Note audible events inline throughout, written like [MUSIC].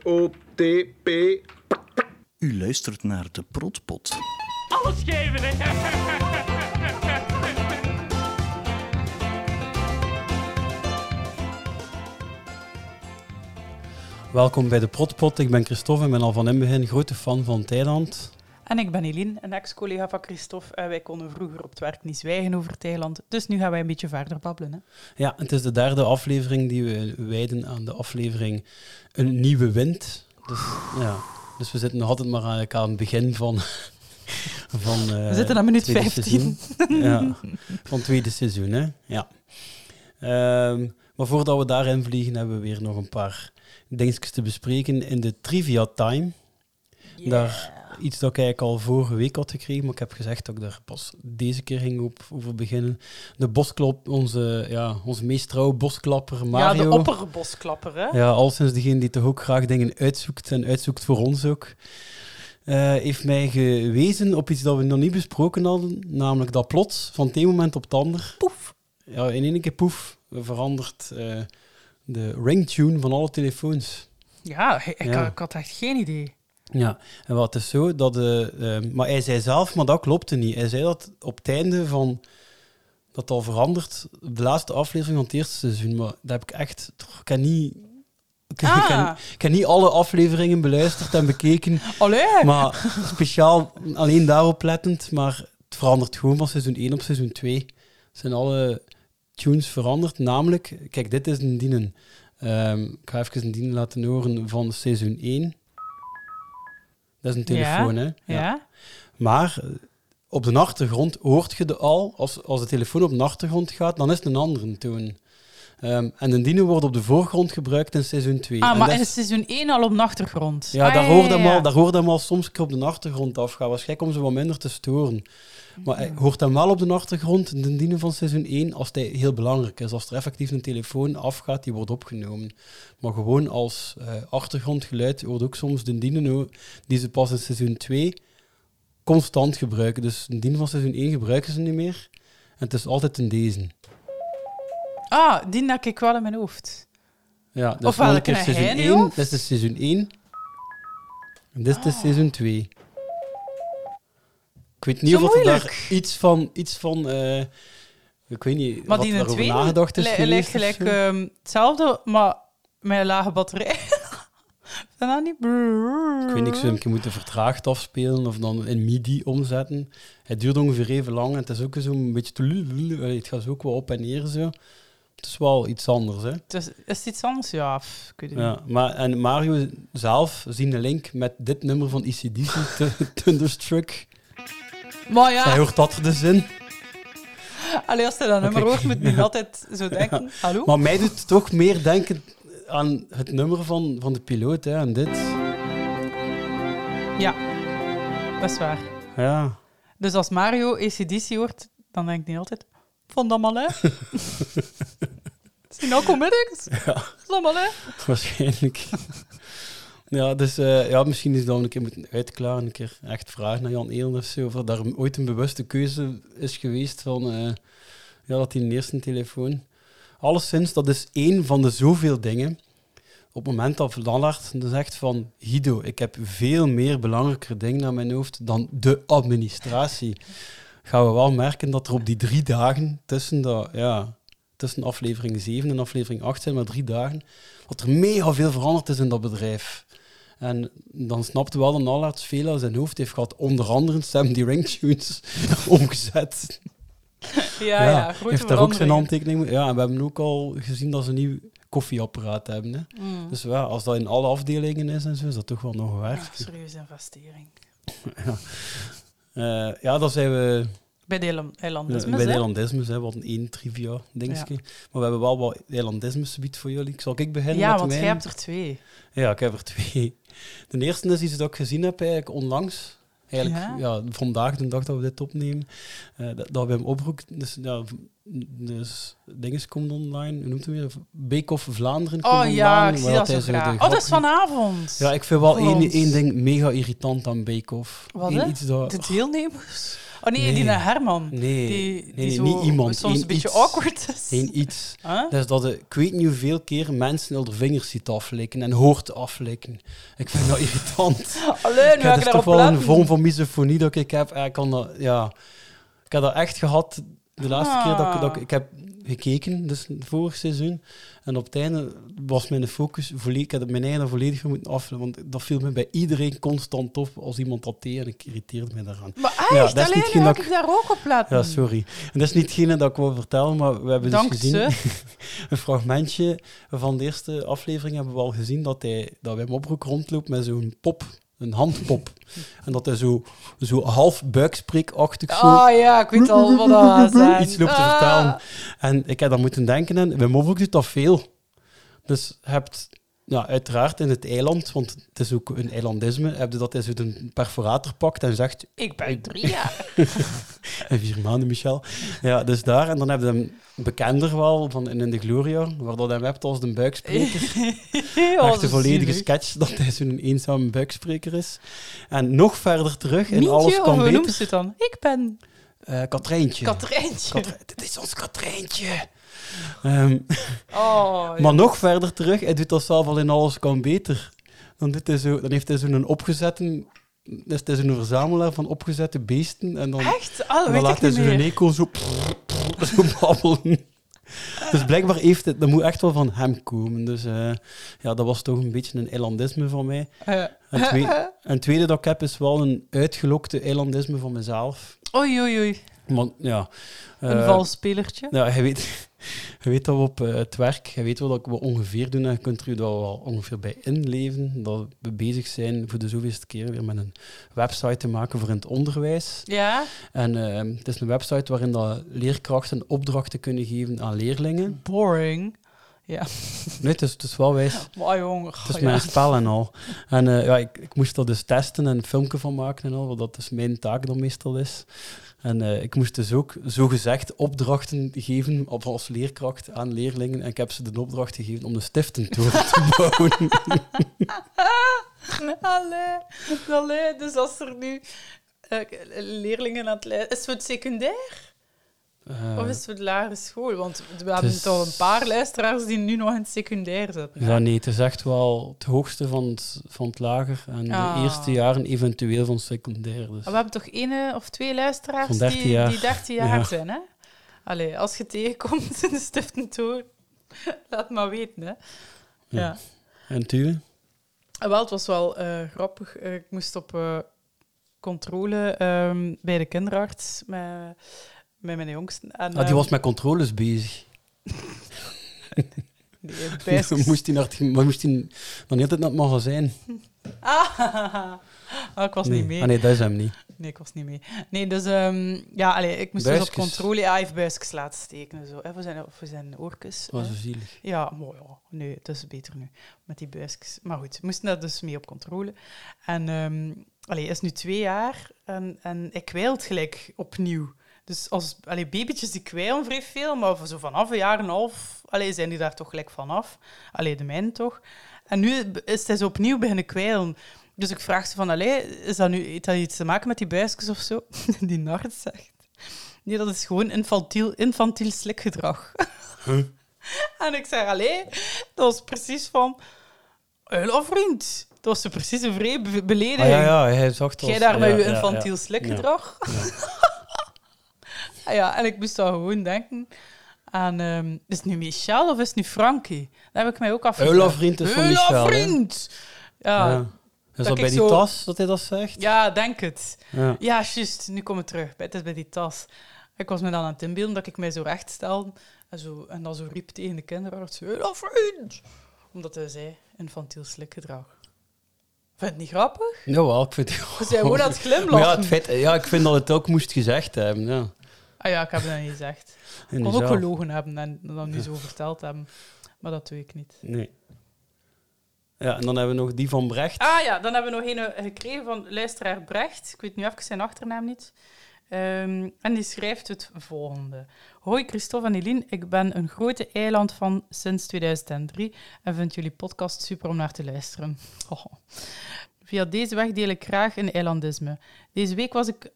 P-R-O-T-P. U luistert naar de Protpot. Alles geven, hè? Welkom bij de Protpot. Ik ben Christophe en ben al van in het begin grote fan van Thailand. En ik ben Eline, een ex-collega van Christophe. En wij konden vroeger op het werk niet zwijgen over Thailand. Dus nu gaan wij een beetje verder babbelen. Hè. Ja, het is de derde aflevering die we wijden aan de aflevering Een Nieuwe Wind. Dus, ja. dus we zitten nog altijd maar eigenlijk aan het begin van... [LAUGHS] van eh, We zitten aan minuut tweede 15. seizoen. [LAUGHS] Ja, van het tweede seizoen, hè. Ja. Ehm, maar voordat we daarin vliegen, hebben we weer nog een paar dingetjes te bespreken in de Trivia Time. Daar iets dat ik eigenlijk al vorige week had gekregen, maar ik heb gezegd dat ik daar pas deze keer ging op, over beginnen. De bosklop, onze, ja, onze meest trouwe bosklapper Mario. Ja, de opperbosklapper, hè? Ja, al sinds degene die toch ook graag dingen uitzoekt en uitzoekt voor ons ook. eh, heeft mij gewezen op iets dat we nog niet besproken hadden, namelijk dat plots van het een moment op het ander. Poef. Ja, in één keer poef verandert eh, de ringtune van alle telefoons. Ja, ik, ik- Ja. ik had echt geen idee. Ja, en wat is zo dat. eh, eh, maar hij zei zelf, maar dat klopte niet. Hij zei dat op het einde van. Dat al veranderd. De laatste aflevering van het eerste seizoen. Maar dat heb ik echt. Ik heb niet. Ik, heb- ik, Ah. heb, ik heb niet alle afleveringen beluisterd en bekeken. Allee! Maar speciaal alleen daarop lettend. Maar het verandert gewoon van seizoen 1 op seizoen 2. Zijn alle tunes veranderd. Namelijk, kijk, dit is een dienen. Ehm, ik ga even een dienen laten horen van seizoen 1. Dat is een telefoon, hè? ja. Maar eh, op de achtergrond hoort je de al. Als, als de telefoon op de achtergrond gaat, dan is het een andere toon. Ehm, en de dienen wordt op de voorgrond gebruikt in seizoen 2. Ah, En maar dat in is- seizoen 1 al op de achtergrond. ja, Ah, daar hoorde ja, hem ja. al, daar hoorde hem al soms een keer op de achtergrond afgaan. Was gek om ze wat minder te storen. Maar hij hoort hem wel op de achtergrond, ten dienen van seizoen 1, als hij heel belangrijk is. Als er effectief een telefoon afgaat, die wordt opgenomen. Maar gewoon als eh, achtergrondgeluid wordt ook soms de dienen ho- die ze pas in seizoen 2 constant gebruiken. Dus de dienen van seizoen 1 gebruiken ze niet meer. En het is altijd een deze. Ah, die heb ik wel in mijn hoofd. Ja, dat Of is wel een welke keer naar seizoen Heine, 1. of? Dit is de seizoen 1. En dit is de Ah. seizoen 2. Ik weet niet Zo of dat er daar moeilijk. iets van... Iets van eh, ik weet niet Maar wat die in daarover twee nagedacht is li- geweest. lijkt of gelijk zo. ehm, hetzelfde, maar met een lage batterij. [LAUGHS] Zijn dat niet? ik weet niet, ik zou hem een keer moeten vertraagd afspelen of dan in midi omzetten. Het duurt ongeveer even lang en het is ook zo'n beetje... tulululu. Allee, Het gaat zo ook wel op en neer zo. Het is wel iets anders, hè. Dus is het iets anders? Ja, of, ik weet het niet. Ja, maar, en Mario zelf zien de link met dit nummer van ICDC, [LAUGHS] Thunderstruck. Maar ja, Hij hoort dat er dus in. allee, als je dat nummer kijk. hoort, moet je [LAUGHS] niet altijd zo denken. Hallo? Maar mij doet het toch meer denken aan het nummer van, van de piloot, hè, aan dit. Ja, dat is waar. Ja. [LAUGHS] Dus als Mario ACDC hoort, dan denk ik niet altijd... Van dat malin. [LAUGHS] Is die nou comedics? Van dat malin. Waarschijnlijk. ja, dus eh, ja, misschien is dat een keer moeten uitklaren. Een keer echt vragen naar Jan Eelen of zo. Of er daar ooit een bewuste keuze is geweest van eh, ja, dat die eerste telefoon. Alleszins, dat is één van de zoveel dingen. Op het moment dat Lallard zegt van Guido, ik heb veel meer belangrijke dingen aan mijn hoofd dan de administratie. Gaan we wel merken dat er op die drie dagen tussen, dat, ja, tussen aflevering 7 en aflevering 8 zijn maar drie dagen dat er mega veel veranderd is in dat bedrijf. En dan snapte wel dat Nalaerts veel aan zijn hoofd heeft gehad. Onder andere Sam die ringtunes [LAUGHS] omgezet. Ja, ja, grote heeft daar ook zijn veranderingen. handtekening mee. Ja, en we hebben ook al gezien dat ze een nieuw koffieapparaat hebben. Hè. Mm. Dus ja, als dat in alle afdelingen is en zo, is dat toch wel nog Ja, werk. serieuze investering. Ja, Eh, ja dan zijn we Bij de eiland- eh, eilandisme, bij de hè? eilandismes. Hè. Wat een één trivia dingetje. Maar we hebben wel wat eilandismes gebied voor jullie. Ik zal ik beginnen Ja, met want jij mijn- hebt er twee. Ja, ik heb er twee. De eerste is iets dat ik gezien heb eigenlijk onlangs. Eigenlijk ja. Ja? vandaag, de dag dat we dit opnemen, eh, dat, dat we hem oproepen. Dus, ja, v- dus dinges komt online, hoe noemt hem weer? Bake of Vlaanderen komt Oh online. ja, ik zie waar dat hij zo de graag. Oh, grap- dat is vanavond. Ja, ik vind wel Voor één, ons. één ding mega irritant aan Bake Off. Wat, Eén hè? iets dat... De deelnemers. Oh nee, die Nee. naar Herman. Nee, Die, nee, die nee, zo niet iemand, soms één een beetje iets. awkward is. Geen iets. Huh? Dus Dat is dat je, ik weet niet hoeveel keer mensen hun vingers ziet aflikken en hoort aflikken. Ik vind dat [LAUGHS] [LAUGHS] irritant. Allee, Ja, dat is nu ga ik dus toch daarop wel letten. een vorm van misofonie dat ik heb. Ja, Ik, kan dat, ja. ik heb dat echt gehad de laatste keer dat, ik- dat Ah. ik, ik heb gekeken, dus vorig seizoen. En op het einde was mijn focus volledig, ik heb mijn eigen volledig moeten af. Want dat viel me bij iedereen constant op als iemand dat deed en ik irriteerde me daaraan. Maar Ja, dat echt, is niet alleen geen nu ga dat ik ik- daar ook op letten. Ja, sorry. En dat is niet hetgene dat ik wil vertellen, maar we hebben Hmm. Dank dus gezien... ze. een fragmentje van de eerste aflevering hebben we al gezien dat hij dat Wim Oproek rondloopt met zo'n pop, een [LAUGHS] handpop. en dat hij zo, zo half buikspreekachtig [LAUGHS] zo Ah ja, ik weet al wat [LAUGHS] dat zijn. iets loopt te Ah. vertellen. En ik heb dat moeten denken en Wim Oproek doet dat veel. Dus je hebt ja, uiteraard in het eiland, want het is ook een eilandisme, heb je dat hij zo een perforator pakt en zegt Ik ben drie [LAUGHS] jaar. en vier maanden, Michel. Ja, dus daar. En dan heb je hem bekender wel van in in de Gloria, waar dat hij hem hebt als de buikspreker. [LAUGHS] Oh, Echt zo de volledige zielig. sketch dat hij zo'n eenzame buikspreker is. En nog verder terug in Mientje, Alles of kan hoe noemt beter. ze het dan? Ik ben Eh Katrijntje. Katrijntje. Katrij- Dit is ons Katrijntje. Ehm, Oh, ja. maar nog verder terug, hij doet dat zelf al in Alles kan beter. Dan, doet hij zo, dan heeft hij zo'n opgezette... Dus het is een verzamelaar van opgezette beesten. En dan, Echt? en Ah, dat dan weet laat ik hij niet zo'n meer. eco zo, [LAUGHS] prrr, prrr, zo babbelen. Dus blijkbaar heeft het... Dat moet echt wel van hem komen. Dus eh, ja, dat was toch een beetje een eilandisme van mij. Ja. En, twee, [LAUGHS] en het tweede dat ik heb is wel een uitgelokte eilandisme van mezelf. Oei, oei, oei. Want ja, Een eh, vals spelertje. Ja, je weet, [LAUGHS] je weet dat we op eh, het werk, je weet wat we ongeveer doen en je kunt er je daar wel ongeveer bij inleven. Dat we bezig zijn voor de zoveelste keer weer met een website te maken voor in het onderwijs. Ja? En eh, het is een website waarin dat leerkrachten opdrachten kunnen geven aan [LAUGHS] leerlingen. Boring. Nee, het is, het is wel wijs. Maar jongen. Het is ja. Dus mijn spel en al. En eh, ja, ik, ik moest dat dus testen en een filmpje van maken en al, want dat is mijn taak dan meestal is. En eh, ik moest dus ook zogezegd opdrachten geven op, als leerkracht aan leerlingen. En ik heb ze de opdracht gegeven om de stiftentoren [LAUGHS] te bouwen. Allee, allee, dus als er nu eh, leerlingen aan het lijden... Is het voor het secundair Eh, of is het voor de lagere school? Want we hebben is- toch een paar luisteraars die nu nog in het secundair zitten. ja, nee, het is echt wel het hoogste van het, van het lager en Ah. de eerste jaren eventueel van het secundair. Dus. Maar we hebben toch één eh, of twee luisteraars Van 13 die, jaar. die 13 jaar Ja. zijn, hè? Allee, als je tegenkomt in de stiftentoren, [LAUGHS] laat maar weten, hè? Ja. En u? Ah, Wel, het was wel eh, grappig. Eh, ik moest op eh, controle ehm, bij de kinderarts met, met mijn jongsten. En, Ah, die ehm, was met controles bezig. die heeft bijs- [LAUGHS] moest hij naar het, maar moest hij dan net naar het magazijn? Ah, [LAUGHS] ah, ik was nee. niet mee. Ah, nee, dat is hem niet. Nee, ik was niet mee. Nee, dus ehm, ja, allee, ik moest dus op Buisjes. controle. Ja, hij heeft buisjes laten steken en zo. Hè, voor, zijn, voor zijn oorkes. was hè. zo zielig. Ja, mooi. Ja. Nee, het is beter nu met die buisjes. Maar goed, we moesten daar dus mee op controle. En ehm allee, hij is nu twee jaar en, en ik kwijlt gelijk opnieuw. Dus als allee, babytjes die kwijlen vrij veel, maar voor zo vanaf een jaar en een half allee, zijn die daar toch gelijk vanaf. Allee, de mijne toch. En nu is hij zo opnieuw beginnen kwijlen. Dus ik vraag ze van, allee, is dat nu, heeft dat iets te maken met die buisjes of zo? [LAUGHS] Die nacht zegt. Nee, dat is gewoon infantiel, infantiel slikgedrag. [LAUGHS] En ik zeg, allee, dat was precies van... Uil vriend. Dat was zo precies een vrij be- belediging. Ah, ja, ja, hij zag Jij daar met je infantiel slikgedrag. Ja, [LAUGHS] en ik moest dan gewoon denken aan... ehm, is het nu Michel of is het nu Frankie? Dat heb ik mij ook afgevraagd. oh, Uilenvriend oh, is van Michel, hè? vriend! Ja, ja. Is ik dat bij die Ah. zo- tas dat hij dat zegt? denk het. Ja. Ja, juist. Nu kom ik terug. Het is bij die tas. Ik was me dan aan het inbeelden dat ik mij zo recht stelde en, zo, en dan zo riep tegen de kinderarts, "Hela vriend! Omdat hij zei, infantiel slikgedrag. Vind je het niet grappig? Jawel, Nou, ik vind het We zijn gewoon aan het Maar glimlachen. [LAUGHS] ja, het feit, ja, ik vind dat het ook moest gezegd hebben. Ja. Ah ja, ik heb dat niet gezegd. In Ik de kon ook zaal. gelogen hebben en dan nu zo verteld hebben. Maar dat doe ik niet. Nee. Ja, en dan hebben we nog die van Brecht. Ah ja, dan hebben we nog een eh, gekregen van luisteraar Brecht. Ik weet nu even zijn achternaam niet. Ehm, en die schrijft het volgende. Hoi Christophe en Eline, ik ben een grote eiland van sinds 2003 en vind jullie podcast super om naar te luisteren. [LAUGHS] Oh. Via deze weg deel ik graag een eilandisme. Deze week was ik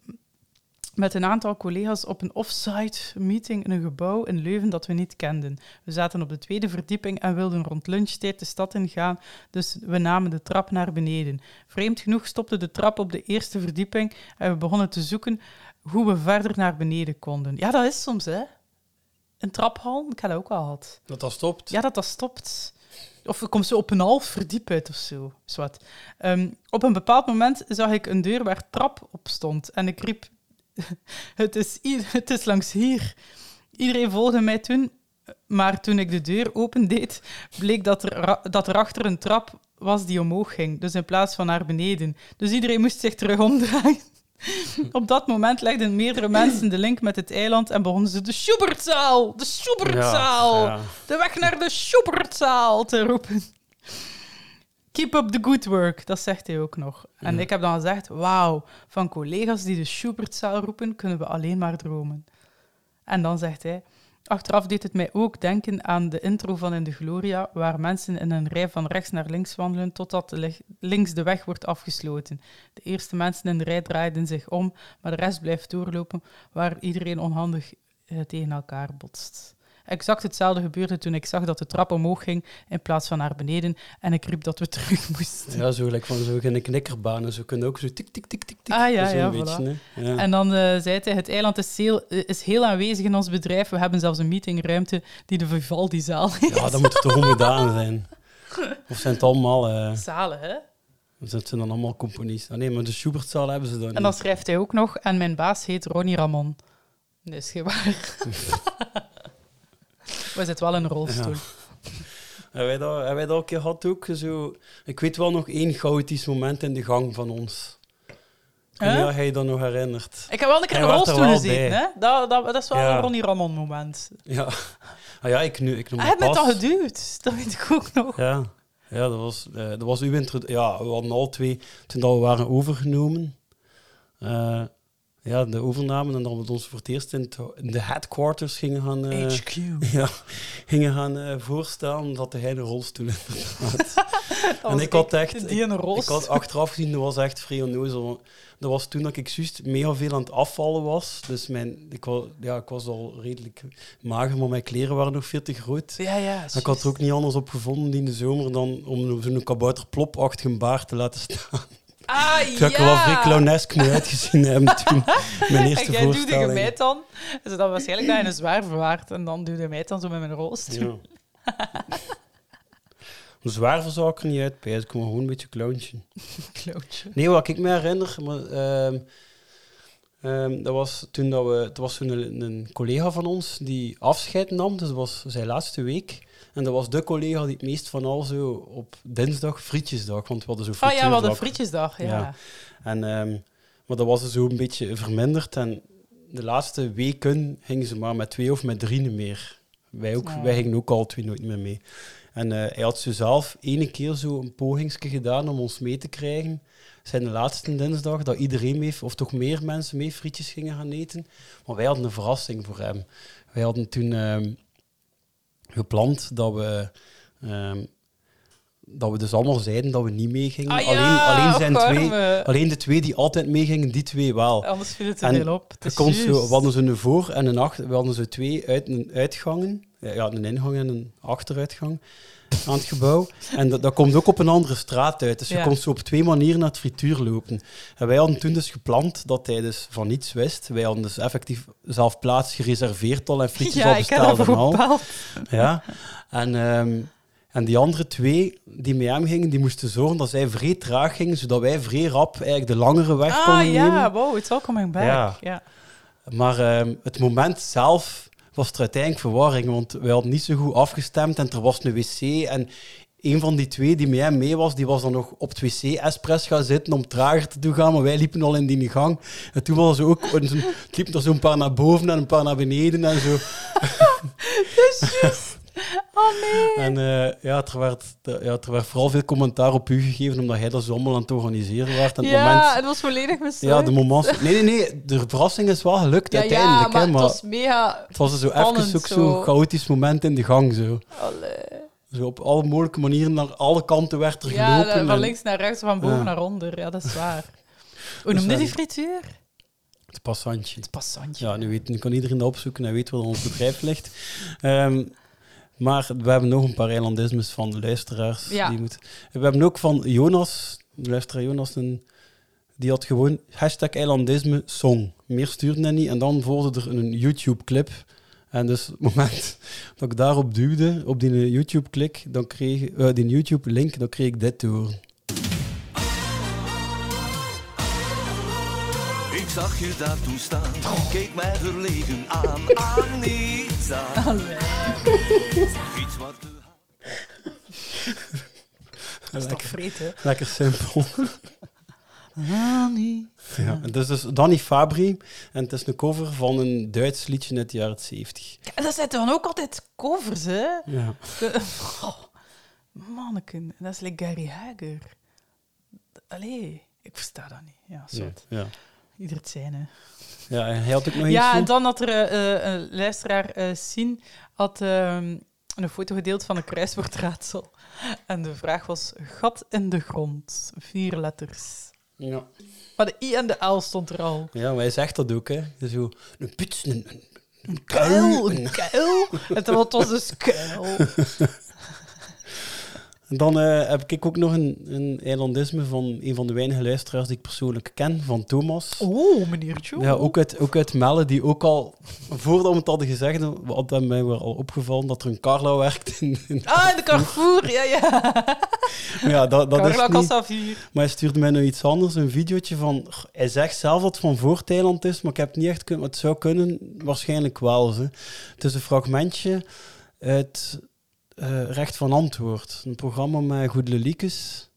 met een aantal collega's op een offsite meeting in een gebouw in Leuven dat we niet kenden. We zaten op de tweede verdieping en wilden rond lunchtijd de stad ingaan, dus we namen de trap naar beneden. Vreemd genoeg stopte de trap op de eerste verdieping en we begonnen te zoeken hoe we verder naar beneden konden. Ja, dat is soms, hè? Een traphal, ik had dat ook al gehad. Dat dat stopt. Ja, dat dat stopt. Of er komt zo op een half verdiep uit of zo. Zwat. Ehm, op een bepaald moment zag ik een deur waar trap op stond. En ik riep: [LAUGHS] het, is hier, [LAUGHS] het is langs hier. Iedereen volgde mij toen. Maar toen ik de deur opendeed, bleek dat er, ra- dat er achter een trap was die omhoog ging. Dus in plaats van naar beneden. Dus iedereen moest zich terug omdraaien. [LAUGHS] Op dat moment legden meerdere mensen de link met het eiland en begonnen ze de Schubertzaal! De Schubertzaal! Ja, De weg naar de Schubertzaal te roepen. Keep up the good work, dat zegt hij ook nog. En ik heb dan gezegd, wauw, van collega's die de Schubertzaal roepen, kunnen we alleen maar dromen. En dan zegt hij, achteraf deed het mij ook denken aan de intro van In de Gloria, waar mensen in een rij van rechts naar links wandelen totdat de leg- links de weg wordt afgesloten. De eerste mensen in de rij draaiden zich om, maar de rest blijft doorlopen, waar iedereen onhandig eh, tegen elkaar botst. Exact hetzelfde gebeurde toen ik zag dat de trap omhoog ging in plaats van naar beneden en ik riep dat we [LAUGHS] terug moesten. ja. ja, zo gelijk van zo geen knikkerbanen. Zo kunnen ook zo tik, tik, tik, tik, tik. Ah, ja, zo ja, een beetje, hè. Ja. En dan eh, zei hij, het eiland is heel, eh, is heel aanwezig in ons bedrijf. We hebben zelfs een meetingruimte die de Vivaldi-zaal heeft. ja, dan moet het toch [LAUGHS] ongedaan zijn. Of zijn het allemaal... eh, Zalen, hè? dat zijn dan allemaal componisten. Ah, nee, maar de Schubertzaal hebben ze dan En dan niet. schrijft hij ook nog, en mijn baas heet Ronnie Ramon. Dat is [LAUGHS] geen waar. We zitten wel in een rolstoel. Hebben wij, dat, hebben wij dat ook een keer gehad ook? Zo, ik weet wel nog één chaotisch moment in de gang van ons. Ik weet Hè? niet of jij je dat nog herinnert. Ik heb wel een keer in een Hij was er rolstoel wel gezeten, bij. hè? Dat, dat, dat is wel Ja. een Ronnie Ramon moment. Ja, ah, ja ik nu. Ik noem Hij dat heeft me pas. al geduwd, dat weet ik ook nog. Ja, ja dat, was, eh, dat was uw intro. Ja, we hadden al twee, toen dat we waren overgenomen, eh, ja, de overname en dat we ons voor het eerst in, het- in de headquarters gingen gaan, eh, HQ. [LAUGHS] ja, gingen gaan eh, voorstellen, dat hij een rolstoel inderdaad. Dat was en ik had echt, Die in een ik rolstoel. had achteraf gezien, dat was echt vrij onnozel. want Dat was toen dat ik juist mega veel aan het afvallen was. Dus mijn, ik, was, ja, ik was al redelijk mager, maar mijn kleren waren nog veel te groot. Ja, ja. Ik had er ook niet anders op gevonden in de zomer dan om zo'n kabouterplopachtige baard te laten [LAUGHS] staan. Ah, ja! Ik heb er wel vrij clownesk mee uitgezien [LAUGHS] hebben toen. Mijn En eerste jij duwde je mij voorstelling. dan. Dus dat waarschijnlijk dat je een zwaar verwaard. En dan duwde je mij dan zo met mijn rolstoel. [LAUGHS] Ja. Zwaar zou ik er niet uit pijzen, ik kon gewoon een beetje clowntje. Klootje. Nee, wat ik me herinner, maar, ehm, ehm, dat was toen dat we, het was toen een, een collega van ons die afscheid nam, dus dat was zijn laatste week. En dat was de collega die het meest van al zo op dinsdag, frietjesdag, want we hadden zo Ah ja, we hadden frituurdag. frietjesdag. Ja. Ah, Ja. En, ehm, maar dat was dus zo een beetje verminderd. En de laatste weken gingen ze maar met twee of met drie niet meer. Wij, ook, Ja. wij gingen ook al twee nooit meer mee. En eh, hij had zo zelf ene keer zo een pogingsje gedaan om ons mee te krijgen. Zijn de laatste dinsdag dat iedereen mee, of toch meer mensen mee frietjes gingen gaan eten. Maar wij hadden een verrassing voor hem. Wij hadden toen ehm, gepland dat we, ehm, dat we dus allemaal zeiden dat we niet meegingen. Ah alleen, ja, alleen zijn twee, opwarmen. alleen de twee die altijd meegingen, die twee wel. Anders viel het te En veel op. Het Je is kon zo, dus juist. we [LAUGHS] hadden ze een voor- en een achter. We hadden zo twee uit, een uitgangen. Ja, ja, een ingang en een achteruitgang aan het gebouw. En dat, dat komt ook op een andere straat uit. Dus je Ja. kon zo op twee manieren naar het frituur lopen. En wij hadden toen dus gepland dat hij dus van niets wist. Wij hadden dus effectief zelf plaats gereserveerd al en frietjes ja, al ik heb besteld dat en al. bepaald. Ja. En, ehm, en die andere twee die met hem gingen, die moesten zorgen dat zij vrij traag gingen, zodat wij vrij rap eigenlijk de langere weg Ah konden ja, nemen. wow, it's all coming back. Ja. Ja. Maar ehm, het moment zelf was er uiteindelijk verwarring, want wij hadden niet zo goed afgestemd en er was een wc en een van die twee die met hem mee was, die was dan nog op het wc-express gaan zitten om trager te doen gaan, maar wij liepen al in die gang. En toen was er ook, een- zo'n- liepen er zo'n paar naar boven en een paar naar beneden en zo. Oh nee. En eh, ja, er werd, er- ja, er werd vooral veel commentaar op u gegeven, omdat jij dat zo allemaal aan het organiseren werd. En het ja, moment, het was volledig mislukt. ja, de [LAUGHS] moment... Nee, nee, nee, de verrassing is wel gelukt ja, uiteindelijk. ja, maar hè, het was mega... het was dus zo even spannend ook zo'n zo. chaotisch moment in de gang. Zo. Allee. zo op alle mogelijke manieren, naar alle kanten werd er Ja, gelopen. dat- van en links naar rechts, van boven Ja. [LAUGHS] naar onder. Ja, dat is waar. Dus Hoe noemde wij- die frituur? Het passantje. Het passantje. Ja, nu, weet, nu kan iedereen dat opzoeken en weet waar ons bedrijf ligt. Ehm, maar we hebben nog een paar eilandismes van de luisteraars. Ja. Die moet... We hebben ook van Jonas, de luisteraar Jonas, een, die had gewoon hashtag eilandisme song. Meer stuurde hij niet. En dan volgde er een YouTube-clip. En dus [LAUGHS] op het moment dat ik daarop duwde, op die YouTube-klik, dan kreeg, eh, die YouTube-link, dan kreeg ik dit te horen. Ik zag je daar toen staan, keek mij verlegen aan. Anita. Iets wat de Dat is toch vreten? Lekker simpel. Ah, nee. Ja, het is dus Danny Fabri en het is een cover van een Duits liedje uit de jaren 70. En dat zijn dan ook altijd covers, hè? Ja. De- [LAUGHS] Goh, manneken, dat is like Gary Hager. Allee, ik versta dat niet. Ja, Ja. zot. Ja. Ieder het zijne. ja, en hij had ook nog Ja, en eentje. dan had er eh, eh, een luisteraar, eh Sien, had ehm, een foto gedeeld van een kruiswoordraadsel. En de vraag was, gat in de grond. Vier letters. Ja. Maar de I en de L stond er al. ja, maar hij zegt dat ook, hè. Dus zo, een put, een, een, een Kuil, kuil. een kuil. Het was- het was dus kuil. En dan eh, heb ik ook nog een, een eilandisme van een van de weinige luisteraars die ik persoonlijk ken, van Thomas. Oh, meneer Tjoe. Ja, ook uit, ook uit Melle, die ook al, voordat we het hadden gezegd, had het mij wel al opgevallen dat er een Carla werkt. In, [LAUGHS] in- Ah, in de Carrefour, ja, ja. Maar ja, dat, [LAUGHS] dat is Carla niet... Cassavier. Maar hij stuurde mij nog iets anders, een videootje van... Hij zegt zelf dat het van voor Thailand is, maar ik heb het niet echt kunnen... maar Het zou kunnen, waarschijnlijk wel. Hè. Het is een fragmentje uit eh, Recht van Antwoord. Een programma met Goede Liekes.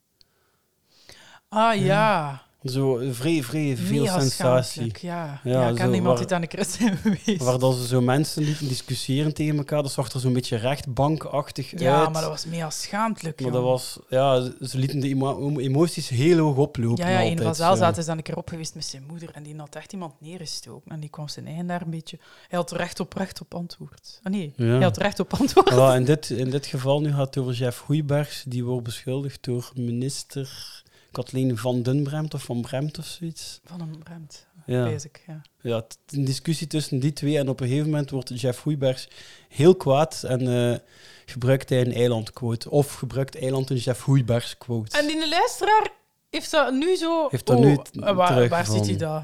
Ah, ja. Zo eh, vrij, vrij veel Mega sensatie. schaamtelijk, Ja, Ja, ja, ik zo, ken iemand waar- die daar een christen [LAUGHS] geweest. Waar dat ze zo mensen lieten discussiëren tegen elkaar. Dat zag er zo'n beetje rechtbankachtig uit. ja, maar dat was mega schaamtelijk. Maar jong. dat was... Ja, ze- ze lieten de emo- emoties heel hoog oplopen. Ja, ja een altijd, eh, van zaal zo. zaten is dan een keer op geweest met zijn moeder en die had echt iemand neergestoken. En die kwam zijn eigen daar een beetje... Hij had recht op recht op antwoord. Ah nee, Ja. hij had recht op antwoord. Ja, in, dit, in dit geval nu gaat het over Jeff Goeibergs. Die wordt beschuldigd door minister Kathleen van den Bremt of van Bremt of zoiets. Van een bremt, Ja, lees ik. Ja. ja t- een discussie tussen die twee. En op een gegeven moment wordt Jeff Goeibergs heel kwaad en eh, gebruikt hij een eilandquote. Of gebruikt eiland een Jeff Goeibergs quote. En die luisteraar heeft dat nu zo... Heeft dat nu t- eh, waar, waar teruggevonden. zit hij dat?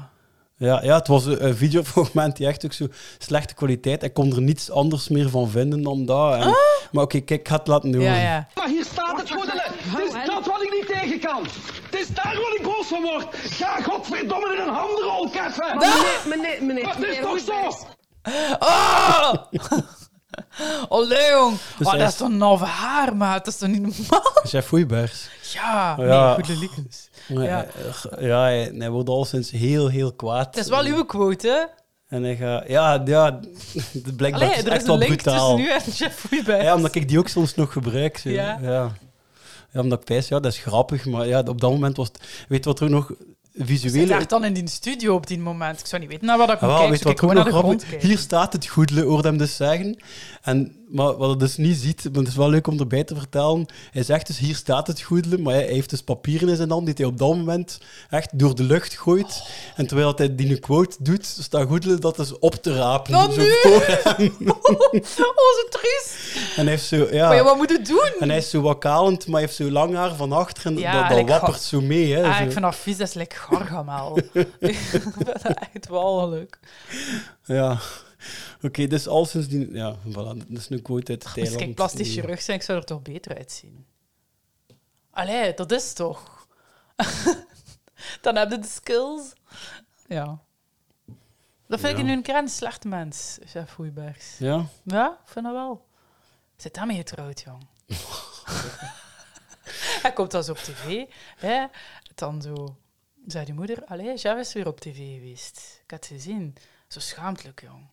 Ja, ja, het was een, een [LAUGHS] videofragment die echt ook zo slechte kwaliteit. Ik kon er niets anders meer van vinden dan dat. En- Maar oké, kijk, ik ga het laten doen. Ah! Ja, ja. Maar hier staat het, goedele. Het is dat wat ik niet tegen kan. Het is daar wat ik boos van word. Ga godverdomme in een handrol keffen. Meneer, meneer, Eh, meneer. Dat is meneer toch zo? Hoedbergs. Oh! [LAUGHS] Allee, jong. Dus oh, hij dat is is- toch een halve haar, maat. Dat is toch niet normaal? [LAUGHS] Jeff Goeibergs. Ja, Ja. nee, goede liekens. Ja, Ja. eh, ja hij, hij wordt al sinds heel, heel kwaad. Het is wel uw quote, hè? En hij gaat... Ja, ja [LAUGHS] het blijkbaar Allee, is er echt is wel een link brutaal. tussen u en Jeff Goeibert. Ja, omdat ik die ook soms nog gebruik. zo. Ja. Ja. ja. omdat ik pijs, ja, dat is grappig. Maar ja, op dat moment was het... Weet je wat er ook nog Ik visuele... zat dan in die studio op die moment. Ik zou niet weten naar wat ik Ah, moet wel, kijken. weet Dus je ik wat er ook gewoon naar nog de grond grappig... kijken. Hier staat het goedele, hoorde hem dus zeggen. En, maar wat het dus niet ziet, maar het is wel leuk om erbij te vertellen. Hij zegt dus, hier staat het goedele, maar hij, hij heeft dus papieren in zijn hand die hij op dat moment echt door de lucht gooit. En terwijl dat hij die een quote doet, staat goedele dat is op te rapen. Dan Zo nu! voor [LAUGHS] hem. [LAUGHS] Onze triest. En hij heeft zo... Ja. Maar ja, wat moet je doen? En hij is zo wakkalend, maar hij heeft zo lang haar van achter en Ja, dat, dat like, wappert goh. zo mee. Hè, Ah, zo. ik vind dat vies, dat is lekker [LAUGHS] gargamel. [LAUGHS] ik vind dat echt wel leuk. Ja. Oké, dus al sinds die... Ja, voilà, dat is een quote uit Thailand. Misschien plastisch Die- chirurg zijn, ik zou er toch beter uitzien. Allee, dat is toch. [LAUGHS] Dan heb je de skills. Ja. Dat vind Ja. ik nu een keer een slecht mens, chef Goeibergs. Ja? Ja, ik vind dat wel. Zit daarmee getrouwd, jong. Hij komt als op tv. Hè? Dan zo, zei die moeder, allee, Jeff is weer op tv geweest. Ik had het gezien. Zo schaamtelijk, jong.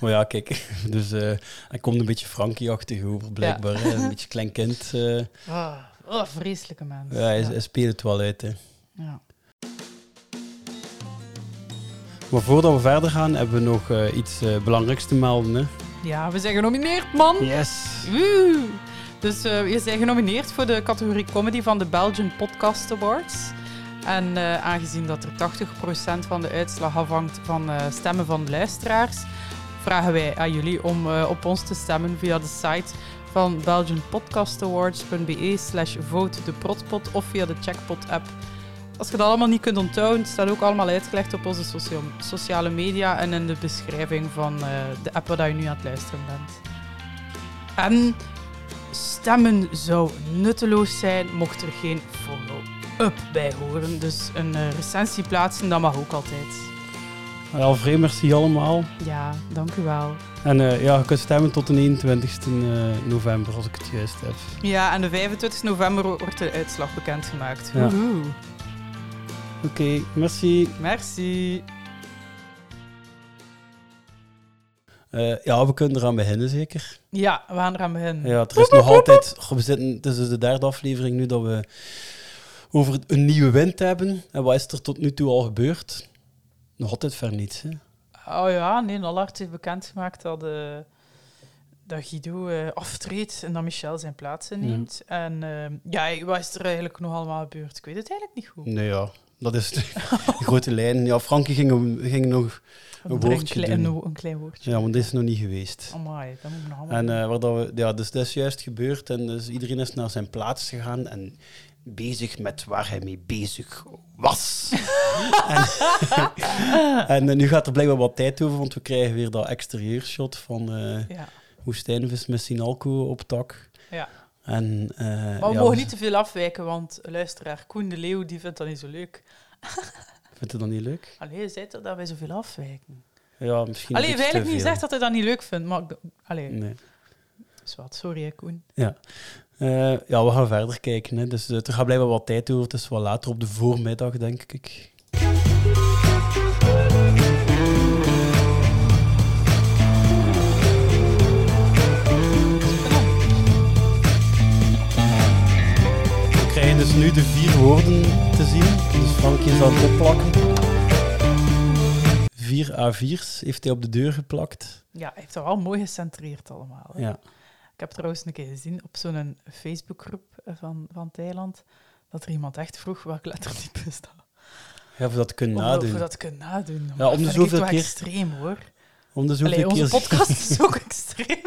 Maar ja, kijk, [LAUGHS] dus eh, hij komt een beetje Frankie-achtig over, blijkbaar. hè. Een beetje klein kind. eh. Ah, ah, vreselijke mens. ja, hij, Ja. hij speelt het wel uit. Hè. Ja. Maar voordat we verder gaan, hebben we nog eh, iets eh, belangrijks te melden. Hè. Ja, we zijn genomineerd, man. Yes! Woe! Dus eh, je bent genomineerd voor de categorie comedy van de Belgian Podcast Awards. En eh, aangezien dat er 80% van de uitslag afhangt van eh, stemmen van luisteraars, vragen wij aan jullie om eh, op ons te stemmen via de site van belgianpodcastawards.be slash vote de protpot of via de checkpot-app. Als je dat allemaal niet kunt onthouden, het staat ook allemaal uitgelegd op onze socia- sociale media en in de beschrijving van eh, de app waar je nu aan het luisteren bent. En stemmen zou nutteloos zijn mocht er geen follow-up bij horen. Dus een eh, recensie plaatsen, dat mag ook altijd. Alvrij, merci allemaal. Ja, dank u wel. En eh, ja, je kunt stemmen tot de 21 eh, november, als ik het juist heb. Ja, en de 25 november wordt de uitslag bekendgemaakt. Ja. Woehoe. Oké, merci. Merci. Eh, ja, we kunnen eraan beginnen, zeker. Ja, we gaan eraan beginnen. Ja, er is nog altijd... Goh, We zitten, het is dus de derde aflevering nu dat we over een nieuwe wind hebben. En wat is er tot nu toe al gebeurd? Nog altijd ver niets, hè? Oh ja, nee, Allard heeft bekendgemaakt dat, eh, dat Guido eh, aftreedt en dat Michel zijn plaats inneemt. En eh, ja, wat is er eigenlijk nog allemaal gebeurd? Ik weet het eigenlijk niet goed. Nee, ja. Dat is de [LAUGHS] grote lijn. Ja, Frankie ging, ging nog... Een Er woordje klein, doen. een klein woordje. Ja, want dit is nog niet geweest. Amai, dat moet ik nog allemaal En eh, waar dat we, ja, dus dat is juist gebeurd en dus iedereen is naar zijn plaats gegaan en bezig met waar hij mee bezig was. [LAUGHS] en en eh, nu gaat er blijkbaar wat tijd over, want we krijgen weer dat exterieurshot van eh doen. Ja. woestijnvis met Sinalco op tak. Ja. En, eh, Maar we ja, mogen niet te veel afwijken, want luisteraar Koen de Leeuw die vindt dat niet zo leuk. Vindt je dat niet leuk? Allee, hij zei toch dat wij zoveel afwijken? Ja, misschien Allee, hij een beetje heeft eigenlijk niet te Mm. gezegd dat hij dat niet leuk vindt, maar... ik d- Allee, veel. Nee. zwart. Sorry, hè, Koen. Ja. Eh, ja, we gaan verder kijken. Hè. Dus eh, er gaat blijkbaar wat tijd over. Het is wel later op de voormiddag, denk ik. We krijgen dus nu de vier woorden te zien. Dus Frankie is aan het opplakken. Vier A4's heeft hij op de deur geplakt. Ja, hij heeft dat wel mooi gecentreerd allemaal. hè. Ja. Ik heb trouwens een keer gezien op zo'n Facebookgroep eh, van, van Thailand dat er iemand echt vroeg welk lettertype is dat. Ja, voor dat te kunnen Om dat- nadoen. Voor dat te kunnen nadoen. Ja, om de Dat vind ik zoveel wel keer- extreem, hoor. Om de zoveel Allee, onze keer- podcast is ook [LAUGHS] extreem.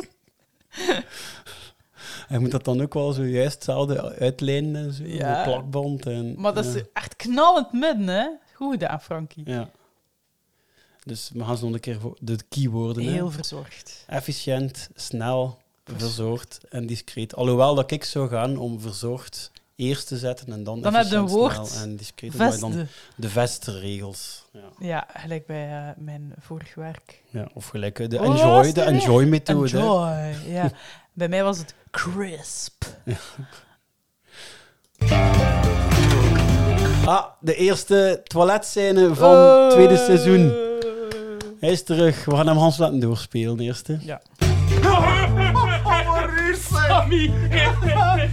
Hij moet dat dan ook wel zojuist hetzelfde uitlijnen en zo, Ja. de plakband. En, Maar dat is ja. echt knallend midden, hè. Goed gedaan, Frankie. Ja. Dus we gaan ze nog een keer voor de keywoorden. hè. Heel verzorgd. Efficiënt, snel, verzorgd en discreet. Alhoewel dat ik zou gaan om verzorgd eerst te zetten en dan Dan heb je efficiënt, een woord. snel en discreet. omdat je Dan Veste. de vestregels. Ja. Ja, gelijk bij eh, mijn vorig werk. Ja, of gelijk eh, de Hoe was enjoy, die de weer? enjoy methode. Enjoy. [LAUGHS] Ja. bij mij was het crisp. Ah, de eerste toiletscène van Oh. het tweede seizoen. Hij is terug. We gaan hem Hans laten doorspelen eerst. hè. Ja. [LAUGHS] Sammy!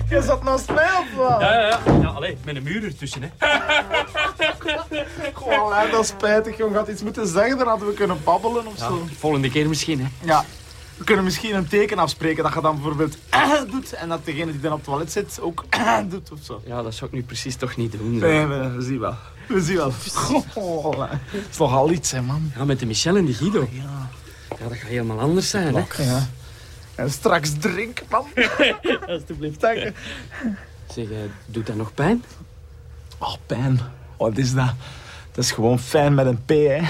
Je zat naast mij op wel? Ja, ja, ja. ja allee, met een muur ertussen, [LAUGHS] hè. Goh, hè, dat is spijtig, jong. Had iets moeten zeggen, dan hadden we kunnen babbelen of zo. Volgende keer misschien, hè. Ja. We kunnen misschien een teken afspreken dat je dan bijvoorbeeld [CLEARS THROAT] doet en dat degene die dan op het toilet zit ook [CLEARS THROAT] doet of zo. Ja, dat zou ik nu precies toch niet doen. hè. Nee, we, we zien wel. We zien wel. Goh, hè. Het is nogal iets, hè, man. Ja, met de Michel en de Guido. Ja. Ja, dat gaat helemaal anders zijn, hè. Ja. En straks drink, [LAUGHS] man. Alsjeblieft. Dank je. Zeg, eh, doet dat nog pijn? Oh, pijn. Wat is dat? Dat is gewoon fijn met een P, hè?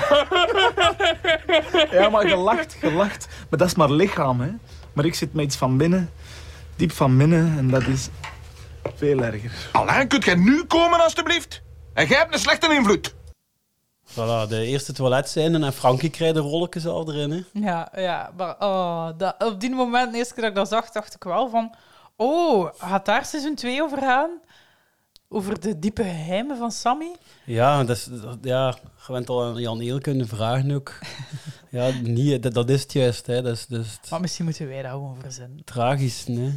ja, maar gelacht, gelacht. Maar dat is maar lichaam, hè? Maar ik zit met iets van binnen, diep van binnen, en dat is veel erger. Alain, kunt jij nu komen, alstublieft? En jij hebt een slechte invloed. Voilà, de eerste toiletscène en Frankie krijgt de rolletjes al erin. Hè. Ja, ja. Maar oh, dat, op die moment, de eerste keer dat ik dat zag, dacht ik wel van... Oh, gaat daar seizoen 2 over gaan? Over de diepe geheimen van Sammy? Ja, dat is, dat- ja, je bent al aan Jan Eel kunnen vragen [LAUGHS] ook. ja, niet, dat, dat is het juist. Hè. Dat is, dat is Maar misschien moeten wij dat gewoon verzinnen. tragisch. Hè.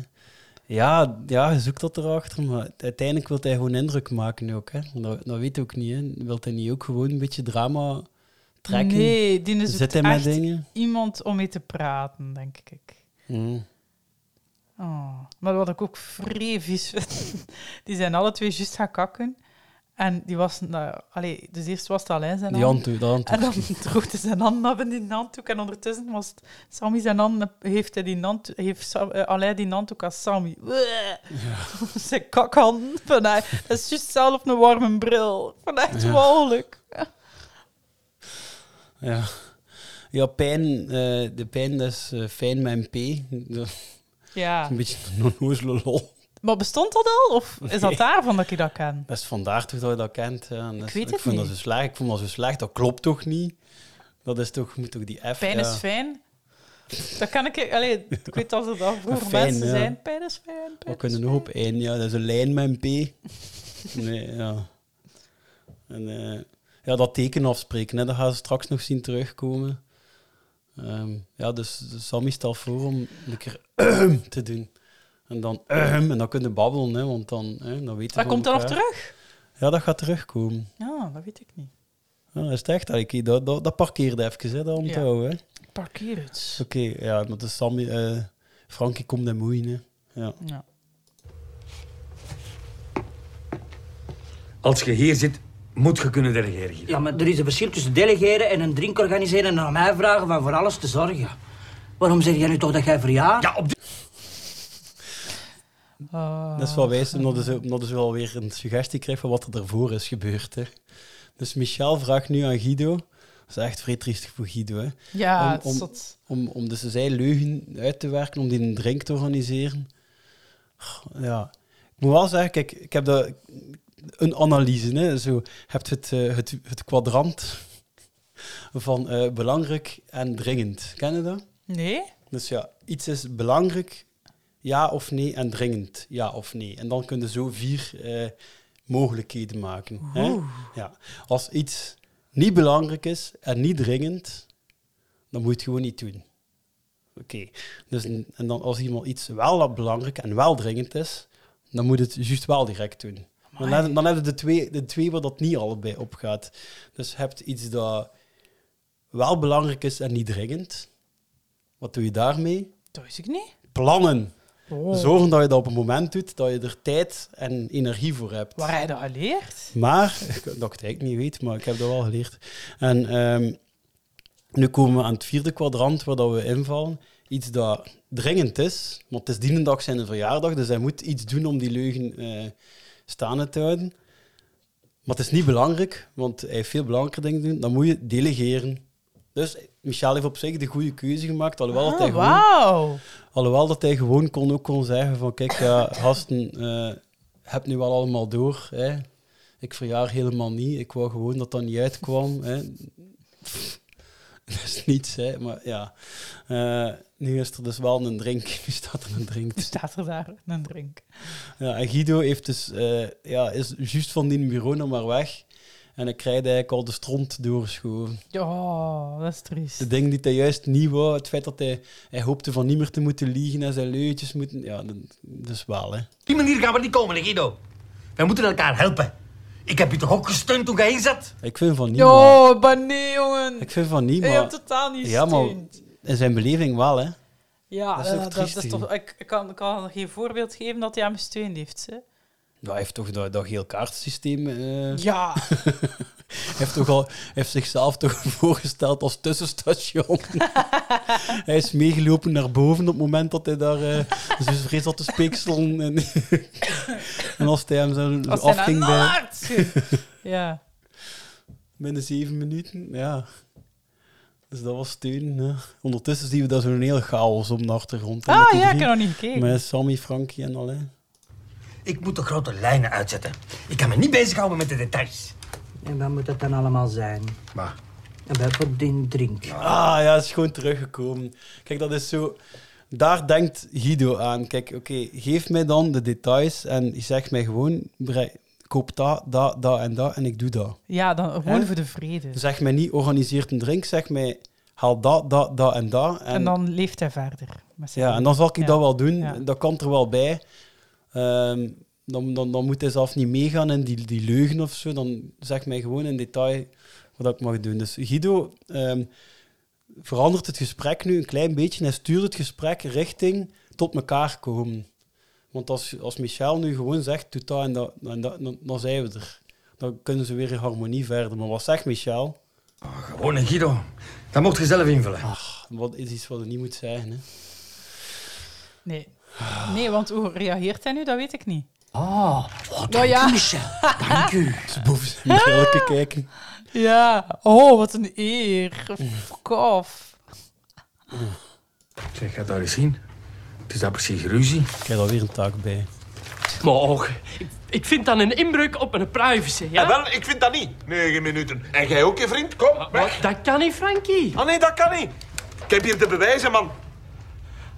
Ja, ja, je zoekt dat erachter, maar uiteindelijk wil hij gewoon indruk maken ook. Hè. Dat, dat weet ook niet. Hè. Wil hij niet ook gewoon een beetje drama trekken? Nee, die is Zit het hij met echt dingen? iemand om mee te praten, denk ik. Hmm. [LAUGHS] Oh, maar wat ik ook vrij vies vind, die zijn alle twee juist gaan kakken. En die was... Nou, allee, dus eerst was het Alain zijn Die hand. handdoek, dat handdoek. En dan [LAUGHS] droogde zijn hand af in die handdoek. En ondertussen was het Sammy zijn hand... Heeft, hij die hand, heeft Sa- eh, Alain die handdoek als Sammy. Ja. [LAUGHS] zijn kakhand. Van hij- Dat is juist zelf een warme bril. Van echt Ja. walgelijk. Ja. Ja, pijn, eh, de pijn, dat is eh, fijn met een P. Dat is Ja. een beetje een onnozele lol. Maar bestond dat al? Of is dat Nee. daarvan dat ik dat ken? Dat is vandaar toch dat je dat kent. Ja. En dat is- weet het vond niet. Dat zo slecht. Ik vond dat zo slecht. Dat klopt toch niet? Dat is toch, moet toch die F... Pijn ja. is fijn. Dat kan ik... Allee, ik weet dat er dan vroeger Fijn, mensen ja. zijn. Pijn is fijn. We Pijn is kunnen nog fijn. op één, ja. Dat is een lijn met een P. [LAUGHS] Nee, ja. En eh, ja, dat teken afspreken, hè, dat gaan ze straks nog zien terugkomen. Ehm, ja, dus Sammy stelt voor om een keer [COUGHS] te doen. En dan [COUGHS] en dan kunnen babbelen, hè, want dan, hè, dan weten Dat we komt dan nog elkaar. terug? Ja, dat gaat terugkomen. Ja, dat weet ik niet. Ja, dat Ah, is het echt. Allee, kijk, Dat, dat, dat parkeerde even, hè, dat onthouden. hè. Parkeer het. Oké, ja, maar dus Sammy... eh, Frankie komt en moeien, hè. Ja. Ja. Als je hier zit, moet je kunnen delegeren. Guido. Ja, maar er is een verschil tussen delegeren en een drink organiseren en aan mij vragen van voor alles te zorgen. Waarom zeg jij nu toch dat jij verjaardag? Ja, op dit... Ah. Dat is wel wijs, omdat ze, omdat ze wel weer een suggestie krijgt van wat er daarvoor is gebeurd. Hè. Dus Michel vraagt nu aan Guido. Dat is echt vrij triestig voor Guido. Hè. Ja, Om- het is om- zot. Om, om dus zijn leugen uit te werken, om die een drink te organiseren. Goh, Ja. Ik moet wel zeggen, kijk, ik heb dat, een analyse. Hè. Zo, je hebt het, eh, het, het kwadrant [LAUGHS] van eh, belangrijk en dringend. Ken je dat? Nee? Dus ja, iets is belangrijk, ja of nee, en dringend, ja of nee. En dan kun je zo vier eh, mogelijkheden maken. Hè? Ja. Als iets niet belangrijk is en niet dringend, dan moet je het gewoon niet doen. Oké. Dus, n- en dan als iemand iets wel belangrijk en wel dringend is, dan moet je het juist wel direct doen. Dan heb, je- dan heb je de twee, de twee waar dat niet allebei op gaat. Dus je hebt iets dat wel belangrijk is en niet dringend. Wat doe je daarmee? Dat weet ik niet. Plannen. Oh. Zorgen dat je dat op een moment doet dat je er tijd en energie voor hebt. Waar hij dat leert? Maar, dat ik het eigenlijk niet weet, maar ik heb dat wel geleerd. En ehm, nu komen we aan het vierde kwadrant waar dat we invallen. Iets dat dringend is, want het is dienendag zijn verjaardag, dus hij moet iets doen om die leugen eh staande te houden. Maar het is niet belangrijk, want hij heeft veel belangrijke dingen te doen. Dan moet je delegeren. Dus Michel heeft op zich de goede keuze gemaakt, alhoewel dat hij Ah, gewoon Wauw. Alhoewel dat hij gewoon kon, ook kon zeggen van kijk, ja, gasten, eh heb nu wel allemaal door. Hè. Ik verjaar helemaal niet. Ik wou gewoon dat dat niet uitkwam. Hè. [LAUGHS] Dat is niets, hè. Maar ja, Eh, nu is er dus wel een drink. [LAUGHS] Nu staat er een drink. Nu staat er daar een drink. Ja, en Guido heeft dus, eh, ja, is juist van die bureau nog maar weg. En hij krijgt eigenlijk al de stront doorgeschoven. Ja, dat is triest. De dingen die hij juist niet wou, het feit dat hij, hij hoopte van niet meer te moeten liegen en zijn leuentjes moeten... Ja, dat, dat is wel, hè. die manier gaan we niet komen, hè, Guido. Wij moeten elkaar helpen. Ik heb je toch ook gesteund toen jij hier zat? Ik vind van niet, maar... Ja, maar nee, jongen. Ik vind van niet, Je hebt maar... totaal niet Ja, maar gesteund. in zijn beleving wel, hè. Ja, dat dat is is, ook dat, triest, is toch... Ik, ik kan, ik kan geen voorbeeld geven dat hij hem gesteund heeft, hè. Ja, hij heeft toch dat, dat geel kaartsysteem... eh, Ja. Hij heeft, toch al, hij heeft zichzelf toch [LAUGHS] voorgesteld als [LAUGHS] tussenstation. hij is meegelopen naar boven op het moment dat hij daar... eh dus vrees had te speekselen. [LAUGHS] En, en als hij hem zo Als hij nou- afging naar bij, [LAUGHS] Naards Ja. binnen zeven minuten, ja... Dus dat was steun. ja. Ondertussen zien we daar zo'n heel chaos om de achtergrond. hè, met Ah, die ja, ik drie. heb nog niet gekeken. Met Sammy, Frankie en Alain. Ik moet de grote lijnen uitzetten. Ik kan me niet bezighouden met de details. En wat moet dat dan allemaal zijn? Maar En wat voor die drink? Ah ja, is gewoon teruggekomen. Kijk, dat is zo. Daar denkt Guido aan. Kijk, oké, geef mij dan de details en zeg mij gewoon: bre- koop dat, dat, dat en dat en ik doe dat. Ja, dan gewoon Hè? voor de vrede. Zeg mij niet organiseert een drink, zeg mij haal dat, dat, dat en dat. En dan leeft hij verder. met zijn ja, en dan zal ik Ja. dat wel doen. Ja. Dat kan er wel bij. Ehm, dan, dan, dan moet hij zelf niet meegaan in die, die leugen of zo. Dan zeg mij gewoon in detail wat ik mag doen. Dus Guido ehm, verandert het gesprek nu een klein beetje. Hij stuurt het gesprek richting tot elkaar komen. Want als, als Michel nu gewoon zegt, doe dat en dat, en dat dan, dan zijn we er. dan kunnen ze weer in harmonie verder. Maar wat zegt Michel? Gewoon een Guido. Dat mocht je zelf invullen. Wat is iets wat je niet moet zeggen, hè? Nee. Nee, want hoe reageert hij nu? Dat weet ik niet. Nou Ah, oh, dank ja. u, Michel. Ah, Dank u. Ze boven zijn brillen kijken. Ja. Oh, wat een eer. Fuck off. Zeg, ga nou daar eens zien. Het is daar precies ruzie. Ik krijg daar weer een taak bij. Maar och, ik, ik vind dat een inbreuk op mijn privacy, En ja? wel, ik vind dat niet. Negen minuten. En jij ook, je vriend? Kom, weg. Dat kan niet, Frankie. Ah nee, dat kan niet. Ik heb hier de bewijzen, man.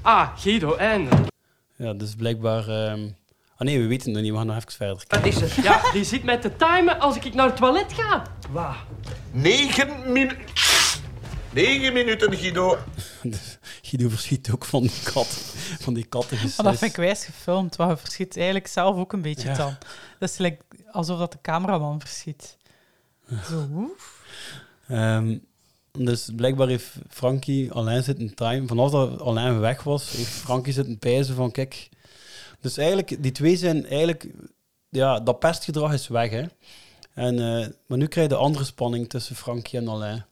Ah, Guido, eindelijk. Ja, dus blijkbaar... ehm, Ah nee, we weten het nog niet. We gaan nog even verder kijken. [LAUGHS] Wat is het? Ja, die zit mij te timen als ik naar het toilet ga. Negen minuten. Negen minuten, Guido. Dus Guido verschiet ook van die kat. Van die katten. Maar Ah, dat vind ik wijs gefilmd, want je verschiet eigenlijk zelf ook een beetje Ja. dan. Dat is like alsof dat de cameraman verschiet. Zo, oef. Ehm, dus blijkbaar heeft Frankie alleen zitten time. Vanaf dat alleen weg was, heeft Frankie zitten pijzen van kijk. Dus eigenlijk, die twee zijn eigenlijk, ja, dat pestgedrag is weg. Hè? En, eh, maar nu krijg je de andere spanning tussen Frankie en Alain.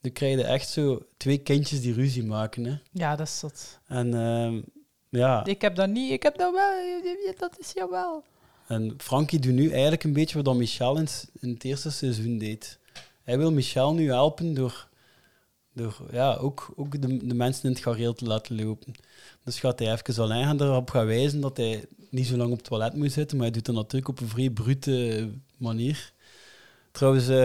Nu krijg je echt zo twee kindjes die ruzie maken. Hè? Ja, dat is zot. En ehm, ja, Ik heb dat niet, ik heb dat wel, dat is jawel. en Frankie doet nu eigenlijk een beetje wat dat Michel in, s- in het eerste seizoen deed. Hij wil Michel nu helpen door, door ja, ook, ook de, de mensen in het gareel te laten lopen. Dus gaat hij even alleen gaan erop gaan wijzen dat hij niet zo lang op het toilet moet zitten, maar hij doet dat natuurlijk op een vrij brute manier. Trouwens, eh,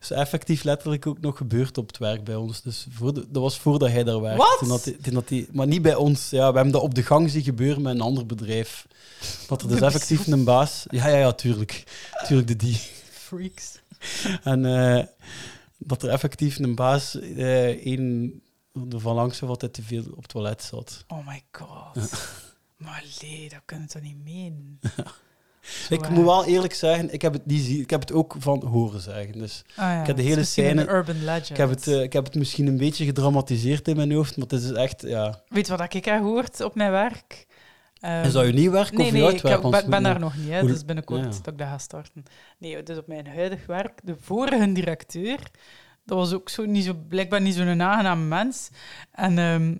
[LAUGHS] is effectief letterlijk ook nog gebeurd op het werk bij ons. Dus voor de- dat was voordat hij daar werkte. Wat? Toen dat hij- toen dat hij- maar niet bij ons. Ja, we hebben dat op de gang zien gebeuren met een ander bedrijf. Dat er dus effectief een baas... Ja, ja, ja, tuurlijk. Tuurlijk, de die. Freaks. En eh, dat er effectief een baas eh een ervan langs zat dat hij te veel op het toilet zat. Oh my [LAUGHS] god. Maar lee, dat kunnen we toch niet meen? Ik moet wel eerlijk zeggen, ik heb het, niet zien, ik heb het ook van horen zeggen. Dus Ah ik heb de hele scène... urban legend. Ik heb, het, eh, ik heb het misschien een beetje gedramatiseerd in mijn hoofd, maar het is echt... Ja. Weet je wat ik heb gehoord op mijn werk? Ehm, Is dat je nieuw werk Nee, of nee, je ik heb- uitwerk? Want ben, ben we- daar nog niet. Hè. hoe- Dus binnenkort ja. dat ik dat ga starten. Nee, dus op mijn huidig werk, de vorige directeur, dat was ook zo niet zo, blijkbaar niet zo'n aangenaam mens. En ehm,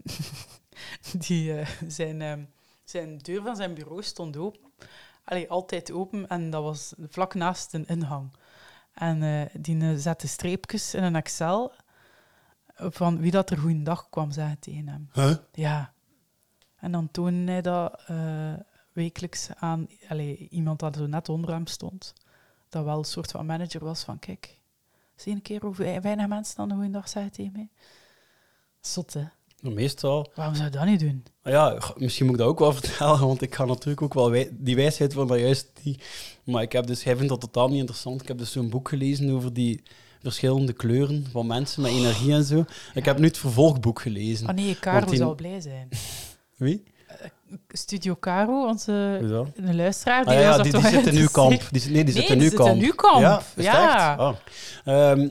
[LAUGHS] die, eh, zijn, ehm, zijn deur van zijn bureau stond open. Allee, altijd open. En dat was vlak naast een ingang. En eh, die eh, zette streepjes in een Excel van wie dat er goeiedag kwam zeggen tegen hem. Huh? Ja. En dan toonde hij dat eh, wekelijks aan allee, iemand dat zo net onder hem stond. Dat wel een soort van manager was van, kijk, zie een keer hoe wei- weinig mensen dan een goede dag zeggen tegen mij. Zot, hè? Nou, Meestal. Waarom zou je dat niet doen? Maar Ja, goh, misschien moet ik dat ook wel [LAUGHS] vertellen, want ik ga natuurlijk ook wel wij- die wijsheid van dat juist die... Maar ik heb dus, hij vindt dat totaal niet interessant. Ik heb dus zo'n boek gelezen over die verschillende kleuren van mensen met energie en zo. Ik heb nu het vervolgboek gelezen. Ah nee, Oh, Caro Hm. Want die- zou blij zijn. Wie? Studio Caro, onze Wie dat? een luisteraar, die Ah, ja, was ja, er die, toch die zit in uw kamp. Die, zit- nee, die Nee, zit in uw die zit in kamp. uw kamp. Ja, is het Ja. echt? Ah. Ehm,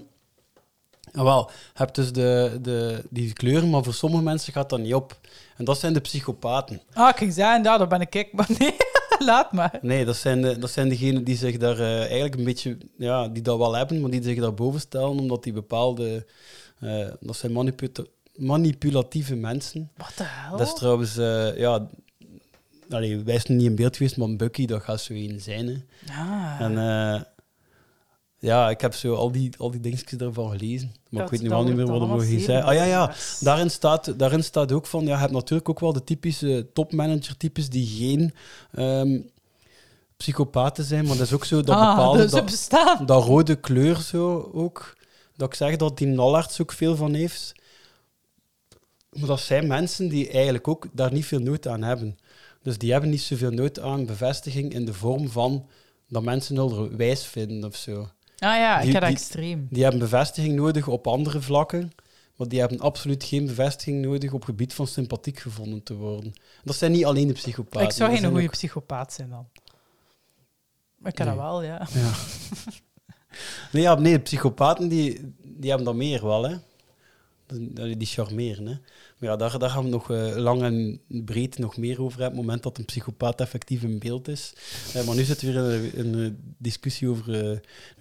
wel, je hebt dus de, de, die kleuren, maar voor sommige mensen gaat dat niet op. En dat zijn de psychopaten. Ah, ik ging zeggen, ja, dat ben ik ik, maar nee, [LAUGHS] laat maar. Nee, dat zijn, de, dat zijn degenen die zich daar eh, eigenlijk een beetje, ja, die dat wel hebben, maar die zich daarboven stellen, omdat die bepaalde, eh, dat zijn maniputa- manipulatieve mensen. Wat de hel? Dat is trouwens, eh, ja, allee, wij zijn niet in beeld geweest, maar Bucky, dat gaat zo één zijn. Hè. Ah, Ja. En eh, ja, ik heb zo al die, al die dingetjes daarvan gelezen. Maar Dat- ik weet nu dat wel niet meer wordt wat er allemaal mogen zeer gezegd. Ah ja, ja. belangrijks. Daarin staat, daarin staat ook van, ja, je hebt natuurlijk ook wel de typische topmanager-types die geen ehm, psychopaten zijn, maar dat is ook zo dat ah, bepaalde... dus ze dat, bestaan. dat rode kleur zo ook, dat ik zeg dat die Nallarts ook veel van heeft. Maar dat zijn mensen die eigenlijk ook daar niet veel nood aan hebben. Dus die hebben niet zoveel nood aan bevestiging in de vorm van dat mensen hun wijs vinden of zo. Ah ja, ik Die- heb dat die- extreem. Die hebben bevestiging nodig op andere vlakken, maar die hebben absoluut geen bevestiging nodig op gebied van sympathiek gevonden te worden. Dat zijn niet alleen de psychopaten. Ik zou dat geen zijn goede ook- psychopaat zijn dan. Maar ik kan Nee. dat wel, ja. Nee, ja, nee, de psychopaten die, die hebben dat meer wel, hè. Dat je die charmeren. Hè. Maar ja, daar, daar gaan we nog eh, lang en breed nog meer over hebben. Op het moment dat een psychopaat effectief in beeld is. Eh, maar nu zit weer een, een, eh, discussie over eh,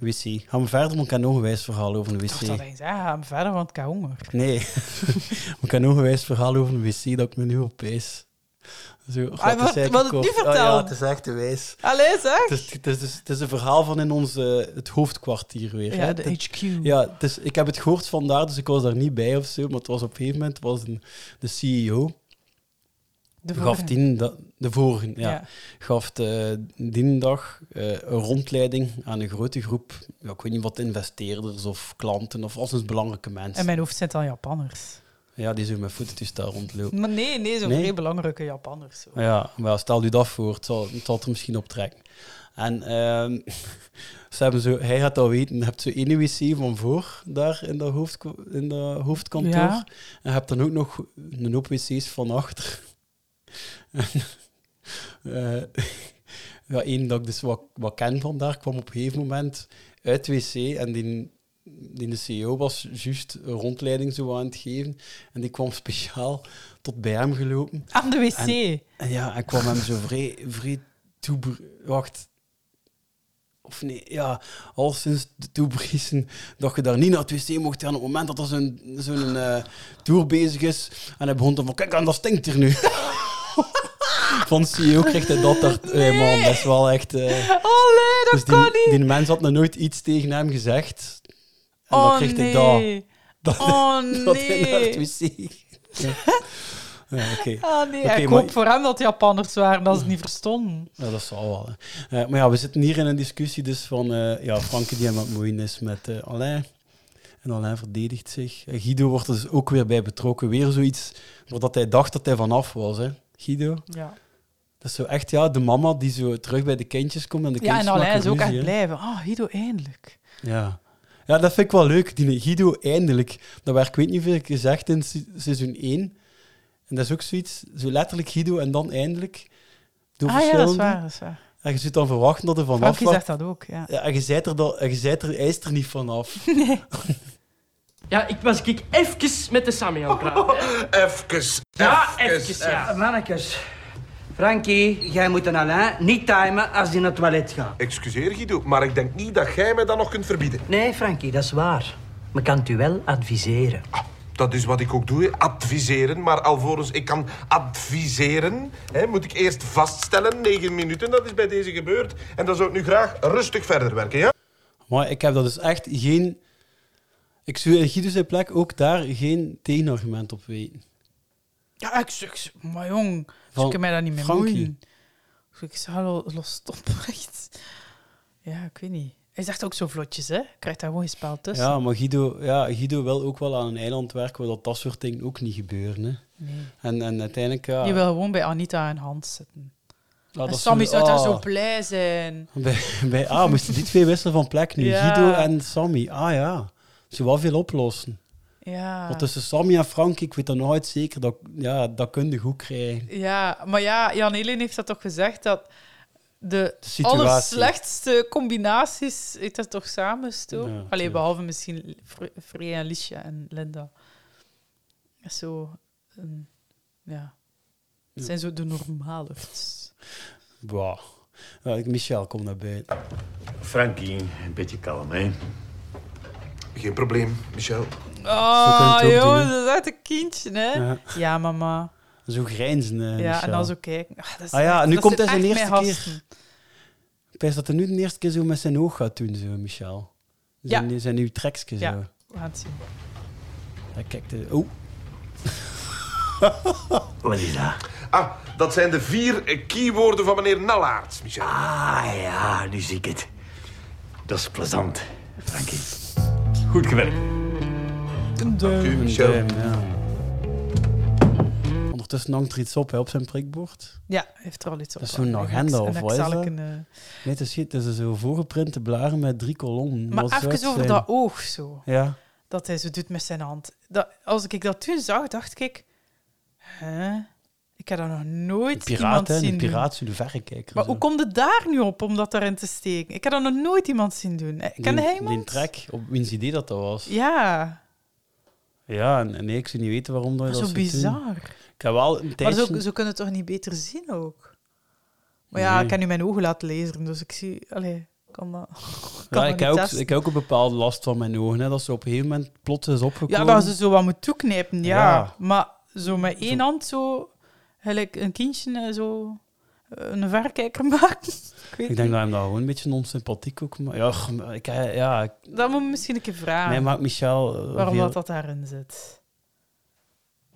een wc. Gaan we verder, want ik heb nog een wijs verhaal over een wc. Ik dacht dat hij zei, ja, ga hem verder, want ik heb honger. Nee, [LAUGHS] maar ik heb nog een wijs verhaal over een wc dat ik me nu opeens. Zo, God, Ah, is wat- eigenlijk wat het ook- nu ah ja, vertelt. het is echt te wijs. Allee, zeg. Het is, het, is, dus- het is een verhaal van in ons, eh, het hoofdkwartier weer. Ja, hè. de Het- HQ. Ja, het is, ik heb het gehoord vandaar, dus ik was daar niet bij of zo. Maar het was op een gegeven moment was een, de CEO. Oh, De gaf vorige. die, da- de vorige, ja. Ja. Gaf de, die dag eh, een rondleiding aan een grote groep. Ja, ik weet niet wat investeerders of klanten of alleszins belangrijke mensen. In mijn hoofd zitten al Japanners. Ja, die zo met voetentoestel rondlopen. Maar nee, nee, zo'n Nee? vrij belangrijke Japanners. Zo. Ja, maar stel u dat voor, het zal, het zal het er misschien op trekken. En ehm, [LAUGHS] ze hebben zo, hij gaat dat weten, je hebt zo één wc van voor, daar in dat, hoofd, in dat hoofdkantoor. Ja. En je hebt dan ook nog een hoop wc's van achter. [LAUGHS] En, eh, [LAUGHS] ja, één dat ik dus wat, wat ken van daar, kwam op een gegeven moment uit de wc en die, die de CEO was juist een rondleiding zo aan het geven. En die kwam speciaal tot bij hem gelopen. Aan de wc. En- En ja, en kwam hem zo vrij, vrij toeber... Wacht. Of nee, ja, al sinds de toebriezen dat je daar niet naar het wc mocht gaan op het moment dat er zo'n zo'n eh, tour bezig is. En hij begon dan van, kijk aan, dat stinkt er nu. [LAUGHS] van CEO kreeg hij dat daar... eh, man, dat is wel echt... eh, Allee, dat dus die, kan niet. die mens had nog nooit iets tegen hem gezegd. En oh, dan kreeg nee. hij dat. Dat, [LAUGHS] Oh, dat hij naar nee. het wc ging. Ja, Ja, oké. Ah, nee. Oké, ik maar- hoop voor hem dat het Japanners waren, dat ze het niet verstonden. Ja, dat zal wel. hè. Eh, maar ja, we zitten hier in een discussie dus van eh ja, Franke die hem aan het moeien is met eh, Alain. En Alain verdedigt zich. Eh, Guido wordt er dus ook weer bij betrokken. Weer zoiets wat hij dacht dat hij vanaf was. Hè. Guido. Ja, Dat is zo echt ja, de mama die zo terug bij de kindjes komt. En, de ja en kindjes Alain maken is ook echt ruzie, hè. blij. van, Ah, Guido, eindelijk. Ja. ja, dat vind ik wel leuk. Die Guido eindelijk. Dat werd ik weet niet veel gezegd in se- seizoen 1. En dat is ook zoiets, zo letterlijk Guido en dan eindelijk. Door Ah ja, dat is verschillende. waar. Dat is waar. En je zit dan verwachten dat er vanaf Frankie was. zegt dat ook, ja. Ja, en je zijt er, dan- en je zijt er, hij is er niet vanaf. [LAUGHS] Ja, ik was ik even met de Sammy aan het praten. Even. Ja, even, ja. Mannekes. Frankie, jij moet een Alain niet timen als die naar het toilet gaat. Excuseer Guido, maar ik denk niet dat jij mij dat nog kunt verbieden. Nee, Frankie, dat is waar. Maar kan het u wel adviseren. Dat is wat ik ook doe, hè. adviseren. Maar alvorens ik kan adviseren, hè, moet ik eerst vaststellen, negen minuten, dat is bij deze gebeurd. En dan zou ik nu graag rustig verder werken, ja? Maar ik heb dat dus echt geen... Ik zou Guido zijn plek ook daar geen tegenargument op weten. Ja, ik zeg, maar jong, Van ze kunnen mij daar niet mee Frankie. moeien. Dus ik zeg, hallo, los stop, [LAUGHS] echt. Ja, ik weet niet. Hij zegt ook zo vlotjes, hè. Krijgt daar gewoon geen spel tussen. Ja, maar Guido, ja, Guido wil ook wel aan een eiland werken waar dat, dat soort dingen ook niet gebeuren. Hè. Nee. En, en uiteindelijk... Ja, Die wil gewoon bij Anita en Hans zitten. ja, en dat Sammy zou daar ah. zo blij zijn. Bij, bij A moesten die twee wisselen van plek nu. [LAUGHS] Ja. Guido en Sammy. Ah ja, ze wel veel oplossen. Ja. Want tussen Sammy en Frank, ik weet dat nooit zeker, dat, ja, dat kun je goed krijgen. Ja, maar ja, Jan Helene heeft dat toch gezegd, dat de, situatie. allerslechtste combinaties is dat toch samen, Sto? Ja, Allee, tuurlijk. behalve misschien Fre- Freya en Liesje en Linda. Dat is Zo, een- ja. Het zijn zo de normale. Wow. Ja, ik- Michel, kom naar buiten. Frankie, een beetje kalm, hè? Geen probleem, Michel. Oh, het ook joh, doen, hè? dat is echt een kindje, hè? Ja, Ja. mama. Zo grijnzen, eh, ja, en Michel. dan zo kijken. Ah, dat is Ah ja, echt- nu dat komt zijn hij zijn echt eerste mijn keer. gasten. Ik Pijs dat hij nu de eerste keer zo met zijn oog gaat doen, zo, Michel. Zijn, Ja. zijn nieuw trekje, Ja, zo. we gaan het zien. Hij kijkt... eh, Oh, Wat is dat? Ah, dat zijn de vier eh, keywoorden van meneer Nallaerts, Michel. Ah ja, nu zie ik het. Dat is plezant, Frankie. Goed gewerkt. Dank u, Michel. Ondertussen hangt er iets op hè, op zijn prikbord. Ja, hij heeft er al iets op. Dat is zo'n agenda En of ik wat is zal dat? ik een, eh, Nee, het is, geen- het is zo'n voorgeprinte blaren met drie kolommen. Maar Wat zou het even over zijn? dat oog zo. Ja. Dat hij zo doet met zijn hand. Dat, als ik dat toen zag, dacht ik... Hè? Ik heb dat nog nooit Piraat, iemand hè. zien Een doen. piraat zou de verrekijker. Maar zo. hoe komt het daar nu op om dat daarin te steken? Ik heb dat nog nooit iemand zien doen. Eh, Ken Die- hij iemand? Die trek, op wiens idee dat dat was. Ja. Ja, en, en nee, ik zou niet weten waarom dat je Dat dat is zo zou doen. bizar. Ik heb wel een Maar tijdje... zo, zo kunnen we het toch niet beter zien ook? Maar ja, Nee. ik kan nu mijn ogen laten lezen, dus ik zie... Allee, kan dat... [LAUGHS] Kan ja, ik, dat niet heb ook, testen. ik heb ook een bepaalde last van mijn ogen. Hè, dat ze op een gegeven moment plots is opgekomen. Ja, dat ze zo wat moet toeknijpen, ja. Ja. Maar zo met één hand zo... Gelijk een kindje eh, zo... eh, Een verrekijker [LAUGHS] maken. ik weet Ik denk dat hem dat gewoon een beetje onsympathiek ook maakt. Ja, g- maar ik, eh, ja, ik- niet. Dat moet ik misschien een keer vragen. mij maakt Michel... eh, Ah. Waarom veel- dat, dat daarin zit.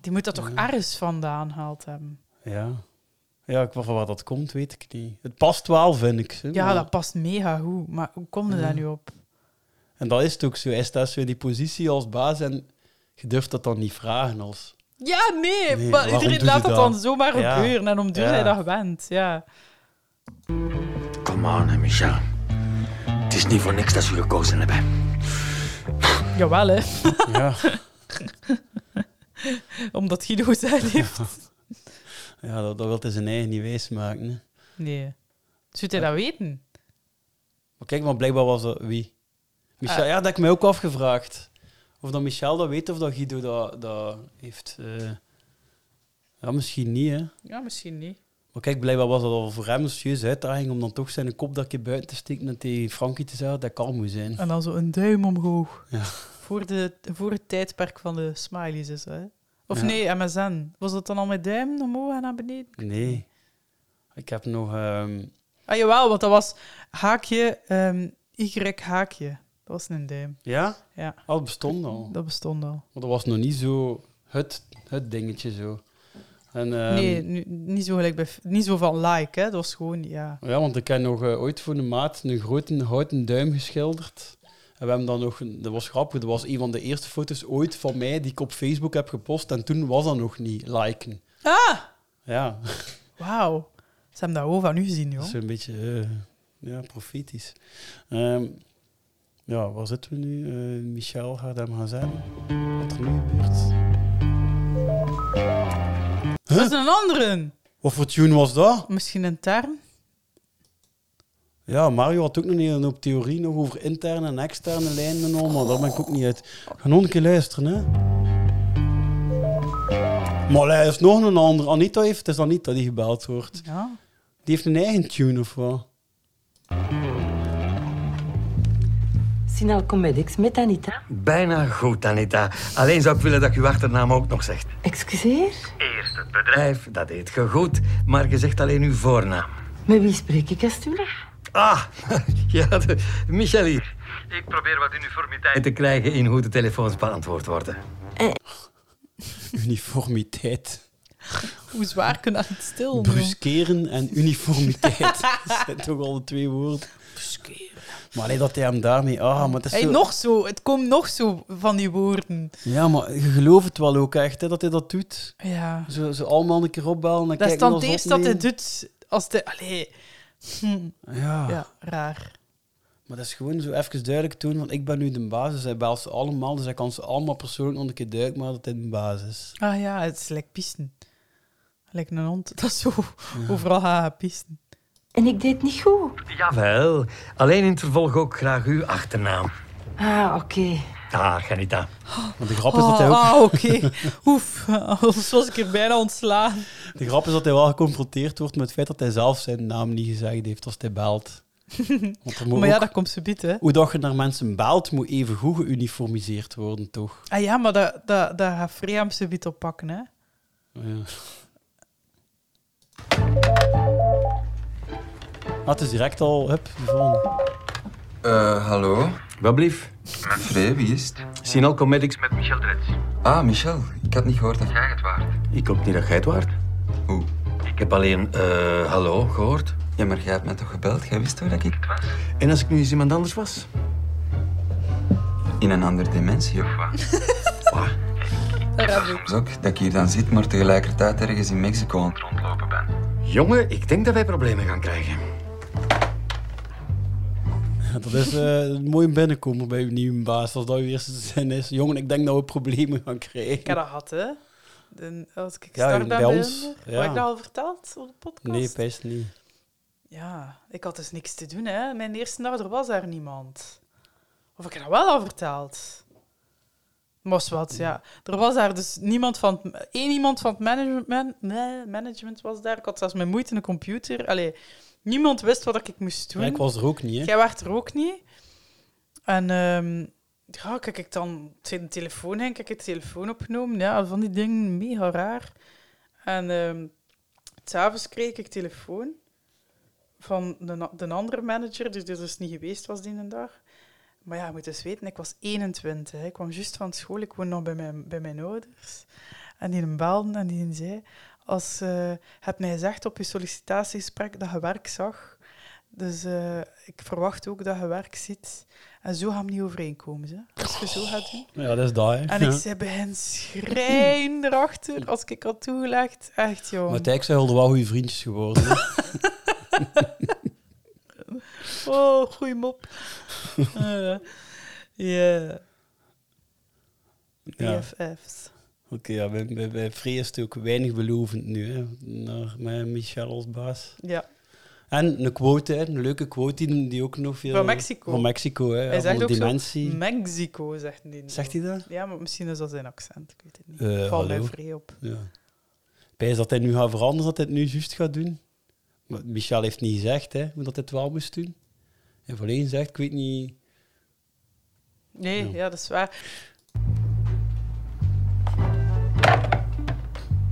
Die moet dat toch Mm. ergens vandaan haalt hebben. Ja. Ja, ik, van waar dat komt, weet ik niet. Het past wel, vind ik. hè, Ja, maar- dat past mega goed. Maar hoe komt je Ja. daar nu op? En dat is het ook zo. Hij staat zo in die positie als baas en je durft dat dan niet vragen [LAUGHS] als... Ja, nee, Nee, maar waarom iedereen doet laat hij dat dat? dan zomaar Ja. gebeuren. En om duur Ja. hij dat gewend, ja. Come on, hè, Michel. Het is niet voor niks dat ze je gekozen hebben. Jawel, hè. [LAUGHS] Ja. Omdat Guido zijn heeft. Ja, dat, dat wil hij zijn eigen niet wijs maken. Hè. Nee. Zou hij dat weten? Maar kijk, maar blijkbaar was dat wie? Michel, Ah. ja, dat heb ik mij ook afgevraagd. Of dat Michel dat weet of dat Guido dat, dat heeft. eh. Ja, misschien niet, hè. Ja, misschien niet. Maar kijk, blijkbaar was dat al voor hem een serieuze uitdaging om dan toch zijn kop dat keer buiten te steken en tegen Frankie te zeggen dat hij kalm moet zijn. En dan zo een duim omhoog. Ja. Voor, de, voor het tijdperk van de smileys is dat, hè? Of Ja. nee, MSN. Was dat dan al met duim omhoog en naar beneden? Nee. Ik heb nog... ehm, Ah, jawel, want dat was haakje, ehm, Y haakje. Dat was een duim. Ja? Ja. Al bestond al. Dat bestond al. Maar dat was nog niet zo het, het dingetje zo. En, ehm, nee, nu, niet, zo gelijk bij, niet zo van like, hè. Dat was gewoon, ja. Ja, want ik heb nog eh, ooit voor een maat een grote houten duim geschilderd. En we hebben dan nog, een- dat was grappig, dat was een van de eerste foto's ooit van mij die ik op Facebook heb gepost. En toen was dat nog niet liken. Ah! Ja, Wauw. Ze hebben dat gewoon van u gezien, dat [LAUGHS] joh. is een beetje eh, ja, profetisch. Ehm, ja, waar zitten we nu? Eh, Michel gaat hem gaan zeggen. Wat er nu gebeurt. Dat is een andere. Wat voor tune was dat? Misschien intern. Ja, Mario had ook nog een hele hoop theorie nog over interne en externe lijnen en al, maar daar ben ik ook niet uit. Ik Ga nog een keer luisteren, hè. Maar hij is nog een ander. Anita heeft, het is Anita die gebeld wordt. Ja. Die heeft een eigen tune, of wat? Sinal Comedics met Anita. Bijna goed, Anita. Alleen zou ik willen dat je uw achternaam ook nog zegt. Excuseer, Eerst het bedrijf, dat deed je goed, maar je zegt alleen uw voornaam. met wie spreek ik alstublieft? Ah, [LAUGHS] ja, de- Michel hier. Ik probeer wat uniformiteit. Tijd te krijgen in hoe de telefoons beantwoord worden. Uniformiteit. Hoe zwaar kunnen dat niet stil? Bruskeren en [LAUGHS] uniformiteit. dat zijn toch al de twee woorden. Bruskeren. Maar alleen dat hij hem daarmee... Ah, maar het is Hey, zo... nog zo. Het komt nog zo van die woorden. Ja, maar je gelooft het wel ook echt, hè, dat hij dat doet. Ja. Zo, zo allemaal een keer opbellen en Dat is kijken dan of het ze eerste dat hij opnemen. doet. Als de, allee. Hm. Ja. ja, raar. Maar dat is gewoon zo even duidelijk doen, want ik ben nu de basis. Hij belt ze allemaal, dus hij kan ze allemaal persoonlijk nog een keer duidelijk maken dat hij de basis is. Ah ja, het is lekker pisten. Lekker een hond. [LAUGHS] Dat is zo. Overal haha, pisten. En ik deed niet goed. Jawel, alleen in het vervolg ook graag uw achternaam. Ah, oké. Ah, Anita. Want de grap is dat Oh, hij ook... ah, oké. [LAUGHS] Oef, anders was ik er bijna ontslaan. De grap is dat hij wel geconfronteerd wordt met het feit dat hij zelf zijn naam niet gezegd heeft als hij [LAUGHS] belt. Want er moet maar ja, ook- dat komt ze hè. Hoe dat je naar mensen belt, moet even goed geuniformiseerd worden, toch? Ah ja, maar dat, dat, dat gaat Freya hem zo op pakken, hè. Ja. Ah, het is direct al... Hup, de volgende. Eh, hallo? Wat blief? Met Free, wie is het? Sinal Comedics met Michel Drets. Ah, Michel. Ik had niet gehoord dat jij het waard. Ik hoop niet dat jij het waard. Hoe? Ik heb alleen eh, hallo gehoord. Ja, maar jij hebt mij toch gebeld? Jij wist toch dat ik het was? En als ik nu eens iemand anders was? In een andere dimensie, of wat? Daar heb Soms ook dat ik hier dan zit, maar tegelijkertijd ergens in Mexico aan het rondlopen ben. Jongen, ik denk dat wij problemen gaan krijgen. Dat is eh, een mooie binnenkomen bij uw nieuwe baas, als dat uw eerste [LAUGHS] zin is. Jongen, ik denk dat we problemen gaan krijgen. Ik heb dat gehad, hè. De- als ik Ja, start bij ben bij ons, Humber. ja. Had ik dat al verteld op de podcast? Nee, best niet. Ja, ik had dus niks te doen, hè. Mijn eerste dag, er was daar niemand. Of ik heb dat wel al verteld. Mos wat, ja. Er was daar dus niemand van... het- één iemand van het management... man- nee, management was daar. Ik had zelfs mijn moeite in de computer. Allee, niemand wist wat ik moest doen. Ja, ik was er ook niet, hè. Jij werd er ook niet. En ehm ja, kijk ik dan tegen de telefoon heen, kijk ik de telefoon opgenomen. Ja, van die dingen, mega raar. En ehm s'avonds kreeg ik telefoon van de, na- de andere manager, die er dus niet geweest was die een dag. Maar ja, je moet eens weten, ik was 21. hè. Ik kwam juist van school, ik woonde nog bij mijn, bij mijn ouders. En die hem belden en die zei... Als, eh, je hebt mij gezegd op je sollicitatiegesprek dat je werk zag. Dus eh, ik verwacht ook dat je werk ziet. En zo gaan we niet overeenkomen. Hè? Als je zo gaat doen. Ja, dat is dat, hè. En Ja. ik zei bij hen schrijn erachter, als ik had toegelegd. Echt, joh. Maar Tijk zijn wel goede vriendjes geworden. [LAUGHS] hè. Oh, goeie mop. Eh, Ja. E Ja. BFF's. Oké, ja, bij, bij, bij Free is het ook weinig belovend nu, hè. Naar mijn Michel als baas. Ja. En een quote, hè, een leuke quote die, die ook nog veel... Van Mexico. Van Mexico, hè. Hij ja, zegt van ook de zo, dimensie. Mexico, zegt hij. Zegt hij dat? Ja, maar misschien is dat zijn accent. Ik weet het niet. Eh, Val mij hallo. vrij op. Ja. Pijs dat hij nu gaat veranderen, dat hij het nu juist gaat doen. Maar Michel heeft niet gezegd hè, hoe dat hij het wel moest doen. Hij heeft alleen gezegd, ik weet niet... Nee, ja, dat is waar.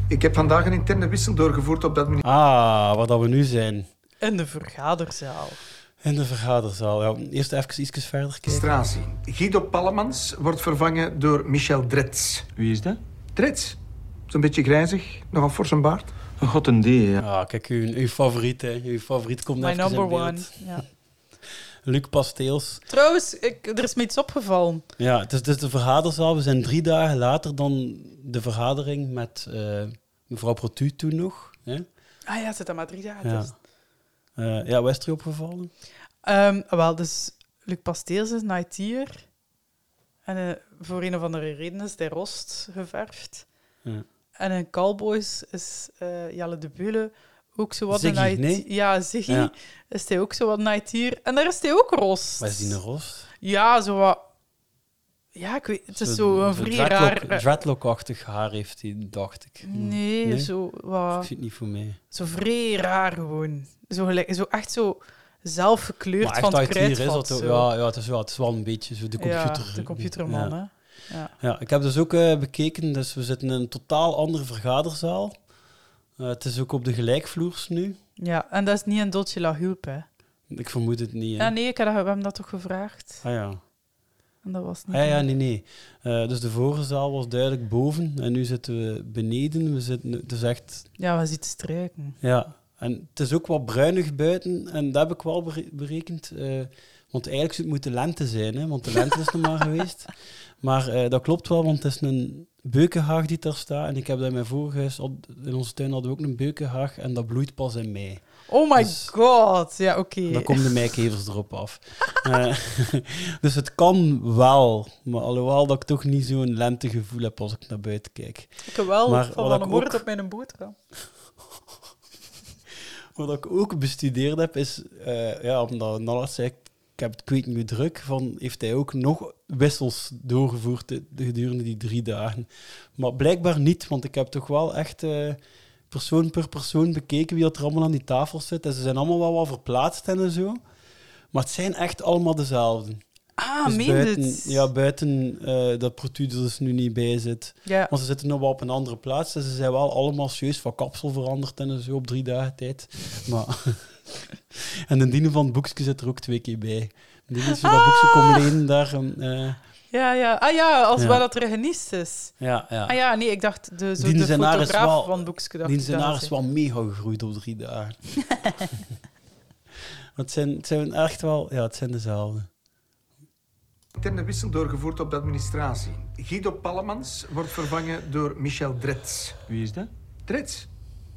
Ik heb vandaag een interne wissel doorgevoerd op dat ministerie. Ah, waar dat we nu zijn. In de vergaderzaal. In de vergaderzaal. Ja, eerst even iets verder kijken. Administratie. Guido Pallemans wordt vervangen door Michel Drets. Wie is dat? Drets. Zo'n beetje grijzig, nogal fors een baard. Een god een die, Ah, kijk, uw, uw favoriet, hè. Uw favoriet komt My even in number one. beeld. Ja. Luc Pasteels. Trouwens, ik, er is me iets opgevallen. Ja, het is dus de vergaderzaal. We zijn drie dagen later dan de vergadering met eh, mevrouw Protu toen nog. Hè? Ah ja, het zit aan maar drie dagen. Ja. tussen. Eh, ja, was er u opgevallen? Ehm, wel, dus Luc Pasteels is een IT'er. En eh, voor een of andere reden is hij rost geverfd. Ja. En in Cowboys is eh, Jelle de Bule ook zo wat Ziggy, een IT. nee? Ja, Ziggy Ja. is hij ook zo wat een IT'er. En daar is hij ook rost. Was die een ros? Ja, zo wat... Ja, ik weet, het is zo een vrij dreadlock, raar... eh, dreadlock-achtig haar heeft hij, dacht ik. Hm, Nee, zo wat- Ik vind het niet voor mij. Zo vrij raar gewoon. Zo, gelijk- zo echt zo zelf gekleurd Maar echt van het uit hier is kruidvat. dat ook- zo. ja, ja, het is wel, het is wel een beetje zo de computer. Ja, de computerman, Ja. hè. Ja. Ja, ik heb dus ook eh, bekeken, dus we zitten in een totaal andere vergaderzaal. Eh, het is ook op de gelijkvloers nu. Ja, en dat is niet een Dolce La Hulp, hè? Ik vermoed het niet. hè. Ja, nee, ik had, we hebben dat toch gevraagd? Ah ja. En dat was niet. Ah, ja, ja, nee, nee. Eh, dus de vorige zaal was duidelijk boven en nu zitten we beneden. We zitten, het is echt Ja, we zitten strijken. Ja, en het is ook wat bruinig buiten en dat heb ik wel bere- berekend. eh, want eigenlijk zou het moeten lente zijn, hè, want de lente is nog maar geweest. Maar eh, dat klopt wel, want het is een beukenhaag die daar staat. En ik heb dat in mijn vorige huis, op- in onze tuin hadden we ook een beukenhaag en dat bloeit pas in mei. Oh my god, ja, oké. Dus- Dan komen de [LAUGHS] meikevers erop af. Eh, [LAUGHS] dus het kan wel, maar alhoewel dat ik toch niet zo'n lentegevoel heb als ik naar buiten kijk. Ik heb wel Maar van wat wat ik een ook- moord op mijn boterham. Wat ik ook bestudeerd heb, is, eh, ja, omdat Nallas zei, ik heb het ik weet niet meer druk, van, heeft hij ook nog wissels doorgevoerd de- de- gedurende die drie dagen. Maar blijkbaar niet, want ik heb toch wel echt eh, persoon per persoon bekeken wie dat er allemaal aan die tafel zit. En ze zijn allemaal wel wat verplaatst en zo. Maar het zijn echt allemaal dezelfde. Ah, meen Dus buiten, het? Ja, buiten eh, dat Protu er dus nu niet bij zit. Ja. Maar ze zitten nog wel op een andere plaats. En ze zijn wel allemaal serieus van kapsel veranderd en zo op drie dagen tijd. Maar... [LAUGHS] en de dienen van het boekje zit er ook twee keer bij. Die is zo dat boekje komen lenen daar. um, eh, Ja, ja. Ah ja, als Ja. waar dat er geniest is. Ja, ja. Ah ja, nee, ik dacht de, zo die de zijn haar is fotograaf wel- van het boekje. dacht Die ik zijn dat haar was, is hè. wel mega gegroeid op drie [LAUGHS] dagen. [LAUGHS] het, zijn, het zijn echt wel... Ja, het zijn dezelfde. Interne wissel doorgevoerd op de administratie. Guido Pallemans wordt vervangen door Michel Drets. Wie is dat? Drets.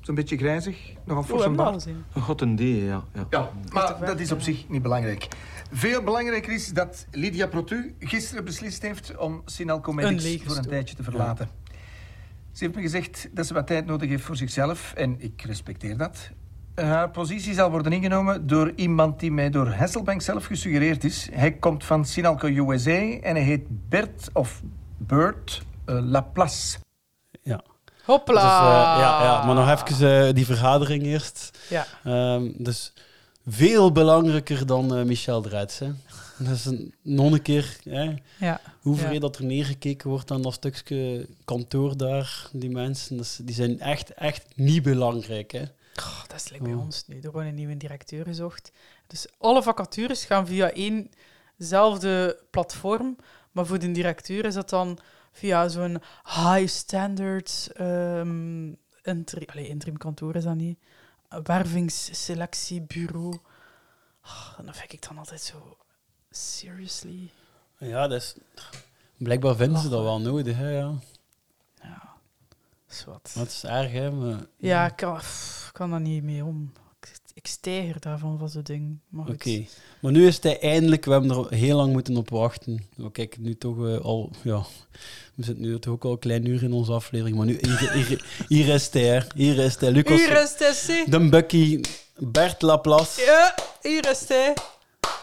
Zo'n beetje grijzig, nogal Oeh, fors een hebben we al baard. gezien. Een god een die, ja. ja. Ja, maar dat is op zich niet belangrijk. Veel belangrijker is dat Lydia Protu gisteren beslist heeft om Sinal Een Comedics lege voor een stoel. tijdje te verlaten. Ze heeft me gezegd dat ze wat tijd nodig heeft voor zichzelf en ik respecteer dat. Haar positie zal worden ingenomen door iemand die mij door Hasselbank zelf gesuggereerd is. Hij komt van Sinalco USA en hij heet Bert of Bird eh, Laplace. Ja. Hoppla. Dus, eh, ja, ja, maar nog even eh, die vergadering eerst. Ja. Ehm, dus veel belangrijker dan eh, Michel Dretz. [LAUGHS] Hè. Dat is een, nog een keer hè, Ja, hoe ja. vreed dat er neergekeken wordt aan dat stukje kantoor daar. Die mensen, dat is- die zijn echt, echt niet belangrijk. Hè. dat is lekker bij ons nu. Er wordt een nieuwe directeur gezocht. Dus alle vacatures gaan via éénzelfde platform. Maar voor de directeur is dat dan via zo'n high standard ehm interi Allee, interim kantoor is dat niet. Wervingsselectiebureau. Ah, en dat vind ik dan altijd zo... Seriously? Ja, dat is... Blijkbaar vinden ze dat wel nodig, hè, ja. Ja, zwart. Dat is erg, hè. maar- Ja, ik kan, pff, ik kan daar niet mee om. Ik, ik stijger daarvan van zo'n ding. Maar Oké. goed. Maar nu is het eindelijk... We hebben er heel lang moeten op wachten. We kijken nu toch eh, al... Ja, we zitten nu toch ook al een klein uur in onze aflevering. Maar nu... Hier, hier, hier is hij, hè. Hier is hij. Lucas... Hier is hij, zie. De Bucky. Bert Laplace. Ja, hier is hij.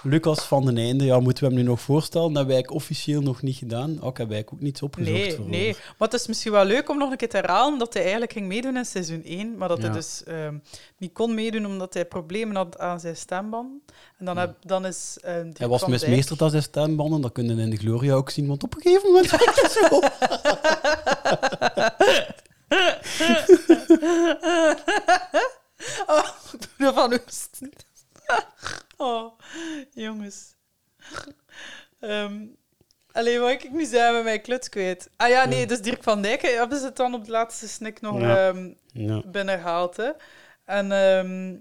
Lucas van den Einde. Ja, moeten we hem nu nog voorstellen? Dat heb ik officieel nog niet gedaan. Oh, ik heb eigenlijk ook niets opgezocht Nee, voor nee. Maar het is misschien wel leuk om nog een keer te herhalen dat hij eigenlijk ging meedoen in seizoen 1, maar dat hij Ja. dus ehm, niet kon meedoen omdat hij problemen had aan zijn stemband. En dan, heb, dan is... ehm, Dirk Hij was van Dijk- mismeesterd als zijn stembanden. Dat kunnen in de Gloria ook zien. Want op een gegeven moment... [LAUGHS] werd hij zo- [LAUGHS] oh, doe dat van Oost. [LAUGHS] oh, jongens. Ehm Allee, wat ik nu zei met mijn kluts kwijt. Ah ja, nee, dus Dirk van Dijk hè, hebben ze het dan op de laatste snik nog Ja. ehm Ja. binnengehaald. Hè? En ehm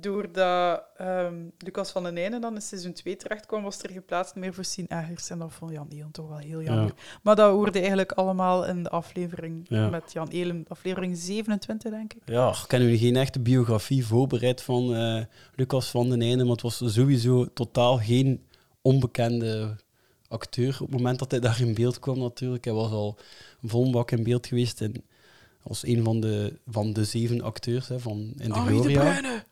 doordat ehm Lucas van den Einde dan in seizoen 2 terechtkwam, was er geplaatst meer voor Sien Egers. En dat vond Jan Elen toch wel heel jammer. Maar dat hoorde eigenlijk allemaal in de aflevering Ja. met Jan Elen, aflevering 27, denk ik. Ja, ik heb nu geen echte biografie voorbereid van eh, Lucas van den Einde, maar het was sowieso totaal geen onbekende acteur. Op het moment dat hij daar in beeld kwam natuurlijk, hij was al volmbak in beeld geweest en als een van de, van de zeven acteurs hè, van In de Henri de Gloria. Bruyne.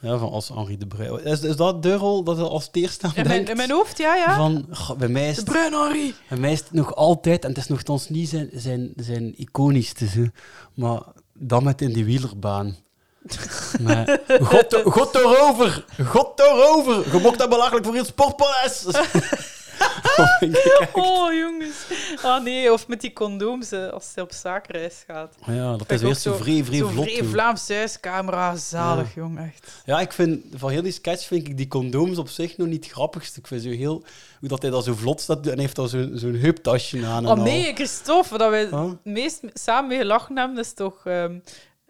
Ja, van als Henri de Bruyne. Is, is dat de rol dat hij als het eerste aan In mijn, denkt? in mijn hoofd, ja, ja. Van, goh, bij mij is De Bruin Henri. Bij mij is het nog altijd, en het is nogthans niet zijn, zijn, zijn iconischste, hè, maar dan met in die [LAUGHS] wielerbaan. Maar, God, God erover! God erover! Je mocht dat belachelijk voor in het [LAUGHS] sportpaleis! Oh, jongens. Ah nee, of met die condooms hè, als ze op zakenreis gaat. Ja, dat Vind ik is weer ook zo vrij, vrij zo vlot vrij doen. Vlaamse huiscamera, zalig, Ja. jong, echt. Ja, ik vind van heel die sketch vind ik die condooms op zich nog niet het grappigste. Ik vind zo heel hoe dat hij dat zo vlot staat en hij heeft daar zo'n zo'n heuptasje aan. en Oh al. nee, Christophe, dat wij Huh? het meest samen mee gelachen hebben, dat is toch... ehm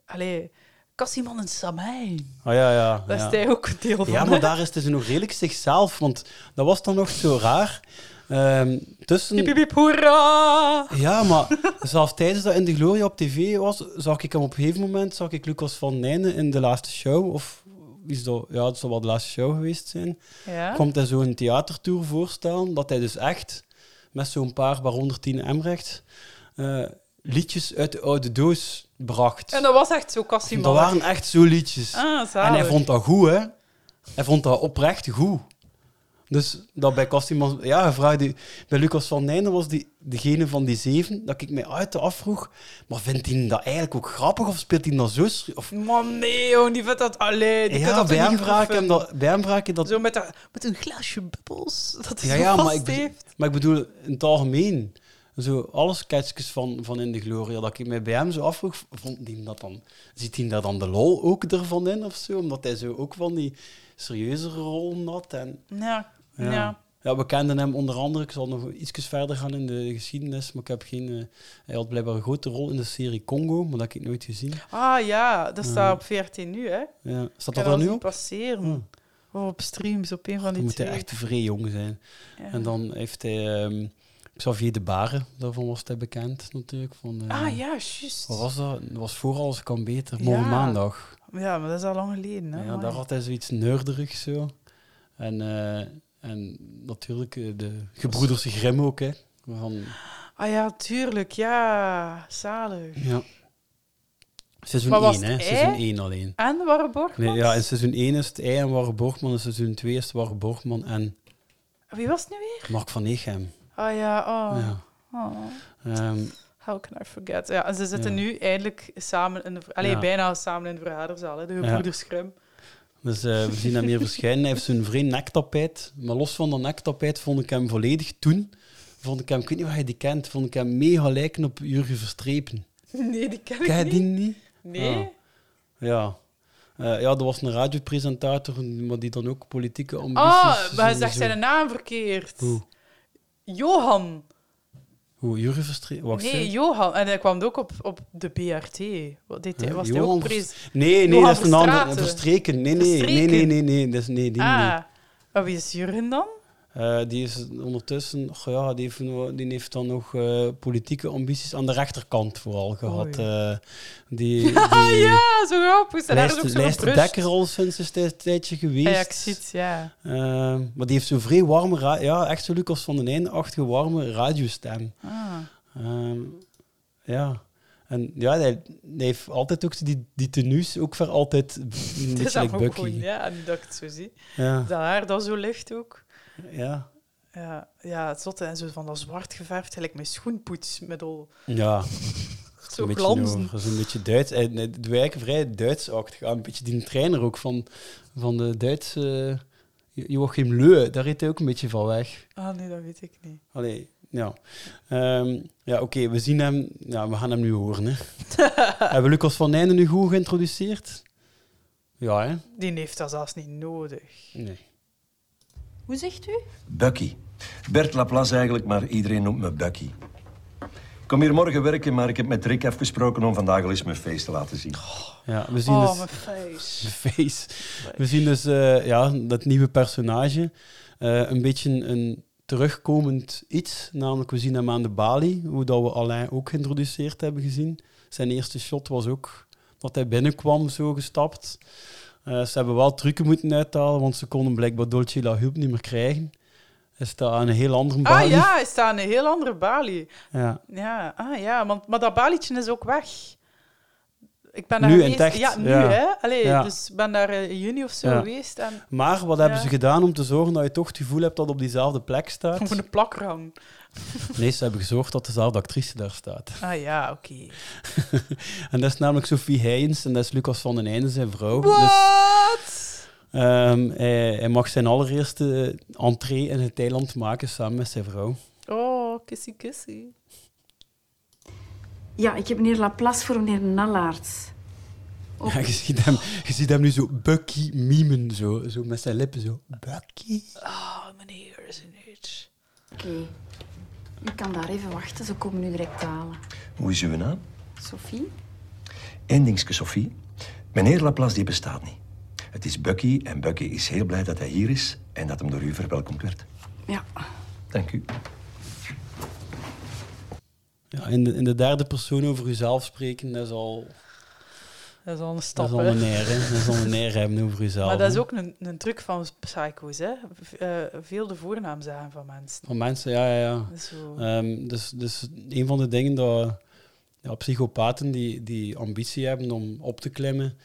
allee, Cassiman en Samijn. Ah, ja, ja, Daar ja. is hij ook een deel van. Ja, maar daar is het dus nog redelijk zichzelf, want dat was dan nog zo raar. Ehm, tussen... Piep, piep, piep, hoera! Ja, maar zelfs tijdens dat In de Gloria op tv was, zag ik hem op een gegeven moment, zag ik Lucas van Nijnen in de laatste show, of is dat, ja, het zal wel de laatste show geweest zijn, Ja. komt hij zo'n theatertour voorstellen, dat hij dus echt met zo'n paar, waaronder Tine Emrecht, eh, liedjes uit de oude doos bracht. En dat was echt zo, Cassiman. Dat waren echt zo liedjes. Ah, zalig. en hij vond dat goed, hè? Hij vond dat oprecht goed. Dus dat bij Cosimo, ja, hij vraagde, bij Lucas van Nijnen was die, degene van die zeven dat ik mij uit de afvroeg. Maar vindt hij dat eigenlijk ook grappig of speelt hij dat zo? schri- Of, Man, nee, jong, die vindt dat alleen. Die Ja, kan dat bij toch hem niet vraag ik goed hem vinden? dat- bij hem vraag ik dat- Zo met, dat, met een glaasje bubbels. Dat is ja, ja, maar ik, vast bedo- maar ik bedoel, in het algemeen, zo alle sketchjes van, van In de Gloria, dat ik mij bij hem zo afvroeg, vond hij dat dan, ziet hij daar dan de lol ook ervan in of zo? Omdat hij zo ook van die serieuzere rollen had en... Ja, ja. Ja. ja. we kenden hem onder andere. Ik zal nog iets verder gaan in de geschiedenis, maar ik heb geen... eh, hij had blijkbaar een grote rol in de serie Congo, maar dat heb ik nooit gezien. Ah ja, dat staat Ja. op 14 nu, hè? Ja. Staat dat Ik kan er nu zien op? passeren. Of op streams, op een van Dan die moet twee. hij echt vrij jong zijn. Ja. En dan heeft hij ehm, Xavier de Baren, daarvan was hij bekend natuurlijk. Van, eh, Ah ja, juist. Wat was dat? Dat was voor alles kan beter, morgen Ja. maandag. Ja, maar dat is al lang geleden, hè? Ja, Amai. daar had hij zoiets neurderig zo. En, eh, en natuurlijk eh, de gebroeders Grimm ook, hè. Van, Ah ja, tuurlijk, ja. Zalig. ja. Seizoen Maar was 1, het hè. ei Seizoen 1 alleen. En Warren Borgmans? Nee, ja, in seizoen 1 is het ei en Warren Borgman. In seizoen 2 is het Warren Borgman en Wie was het nu weer? Mark van Egem. Ah ja, oh. Ja. Oh. Ehm, How can I forget? Ja, en ze zitten Ja. nu eindelijk samen in de... ver- Allee, Ja. bijna samen in de vergaderzaal, hè, de Ja. gebroeders Grimm. dus eh, we zien hem hier verschijnen. Hij heeft zo'n vreemd nektapijt. Maar los van dat nektapijt vond ik hem volledig toen. Vond ik hem, ik weet niet of hij die kent, vond ik hem mega lijken op Jurgen Verstrepen. [LAUGHS] Nee, die ken ik Ken je niet. die niet? Nee. Ah. Ja. Eh, ja, er was een radiopresentator, maar die dan ook politieke ambities... Ah, maar hij zo- zegt zo- zijn naam verkeerd. Hoe? Johan. Hoe, Jurgen Verstrepen? Wacht, nee, hè. Johan. En hij kwam ook op, op de BRT. Wat deed hij? Huh? Was hij Johan ook Vers- pres- Nee, nee, Johan dat is een ander. Verstraeten. Verstreken. Nee, nee, nee, nee, nee, nee. Dat is, nee, die niet. Ah, maar wie is Jurgen dan? Eh, die is ondertussen, och ja, die heeft, nog- die heeft dan nog eh, politieke ambities aan de rechterkant vooral gehad. eh, [LAUGHS] die, die Ah ja, zo grappig. Zijn haar is ook lijst, zo'n lijst brust. Dekker al sinds een tij- tijdje geweest. Ja, ik zie het, ja. Eh, maar die heeft zo'n vrij warme, ra- ja, echt zo Lucas van den Einde-achtige warme radiostem. Ah. [LAUGHS] Ehm, ja. En ja, hij, hij heeft altijd ook zo die, die tenues, ook voor altijd een [LAUGHS] Het is beetje like dan ook Bucky. gewoon, ja, nu dat ik het zo zie. Ja. Dat haar dat zo licht ook. Ja. Ja, ja, het zotte. En zo van dat zwart geverfd, gelijk mijn schoenpoets met al... Ja. Zo Een beetje glanzen. noor, Dat is een beetje Duits. En het werken vrij Duitsachtig aan. Een beetje die trainer ook van, van de Duitse eh, Joachim Leu. Daar reed hij ook een beetje van weg. Ah nee, dat weet ik niet. Allee, ja. Ehm, ja, oké, we zien hem. Ja, we gaan hem nu horen. Hè. Hebben we Lucas van Nijnen nu goed geïntroduceerd? Ja, hè? Die heeft dat zelfs niet nodig. Nee. Hoe zegt u? Bucky. Bert Laplace eigenlijk, maar iedereen noemt me Bucky. Ik kom hier morgen werken, maar ik heb met Rick afgesproken om vandaag al eens mijn feest te laten zien. Ja, we zien oh, dus... mijn face. De [LAUGHS] face. We zien dus eh, ja, dat nieuwe personage. eh, een beetje een terugkomend iets. Namelijk, we zien hem aan de balie. Hoe dat we Alain ook geïntroduceerd hebben gezien. Zijn eerste shot was ook dat hij binnenkwam, zo gestapt. Eh, ze hebben wel trucken moeten uithalen, want ze konden blijkbaar Dolce La Hulp niet meer krijgen. Hij staat aan een heel andere balie. Ah ja, hij staat aan een heel andere balie. Ja. Ja, ah, ja want, maar dat balietje is ook weg. Ik ben daar Nu geweest- in Techt, Ja, nu ja. hè. Allee, Ja. dus ik ben daar eh, in juni of zo Ja. geweest. En Maar wat Ja. hebben ze gedaan om te zorgen dat je toch het gevoel hebt dat het op diezelfde plek staat? Voor [LAUGHS] een plakrang. Nee, ze hebben gezorgd dat dezelfde actrice daar staat. Ah ja, oké. Dus- en dat is namelijk Sophie Heijens en dat is Lucas van den Einde, zijn vrouw. Dus, ehm, hij, hij mag zijn allereerste eh, entree in het Thailand maken samen met zijn vrouw. Oh, kissie kissie. Ja, ik heb meneer Laplace voor meneer Nallaerts. Oh. Ja, je, ziet hem, je ziet hem nu zo Bucky mimen, zo, zo met zijn lippen. Zo. Bucky. Oh, meneer is een age. Oké. U kan daar even wachten, ze komen nu direct halen. Hoe is uw naam? Sophie? Eén dingetje, Sophie. Meneer Laplace, die bestaat niet. Het is Bucky en Bucky is heel blij dat hij hier is en dat hem door u verwelkomd werd. Ja. Dank u. Ja, in, de, in de derde persoon over jezelf spreken, dat is al, Dat is al een dat stap, is al hè. een eer. hè. Dat is al een eer hebben over jezelf. Maar dat is hè. ook een, een truc van psycho's, hè. V- eh, veel de voornaam zeggen van mensen. Van mensen, ja, ja, ja. Zo. Ehm, dus, dus een van de dingen dat ja, psychopaten die, die ambitie hebben om op te klimmen,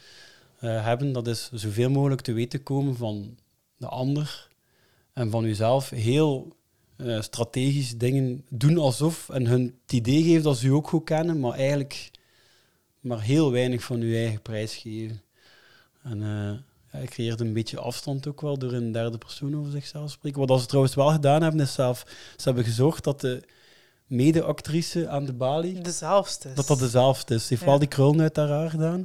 eh, hebben, dat is zoveel mogelijk te weten komen van de ander en van uzelf. Heel eh, strategisch dingen doen alsof en hun het idee geven dat ze u ook goed kennen, maar eigenlijk maar heel weinig van uw eigen prijs geven. En eh ja, hij creëert een beetje afstand ook wel door in derde persoon over zichzelf te spreken. Wat ze trouwens wel gedaan hebben, is zelf, ze hebben gezorgd dat de mede-actrice aan de balie... Dezelfde is. Dat dat dezelfde is. Ze heeft Ja. wel die krullen uit haar haar gedaan.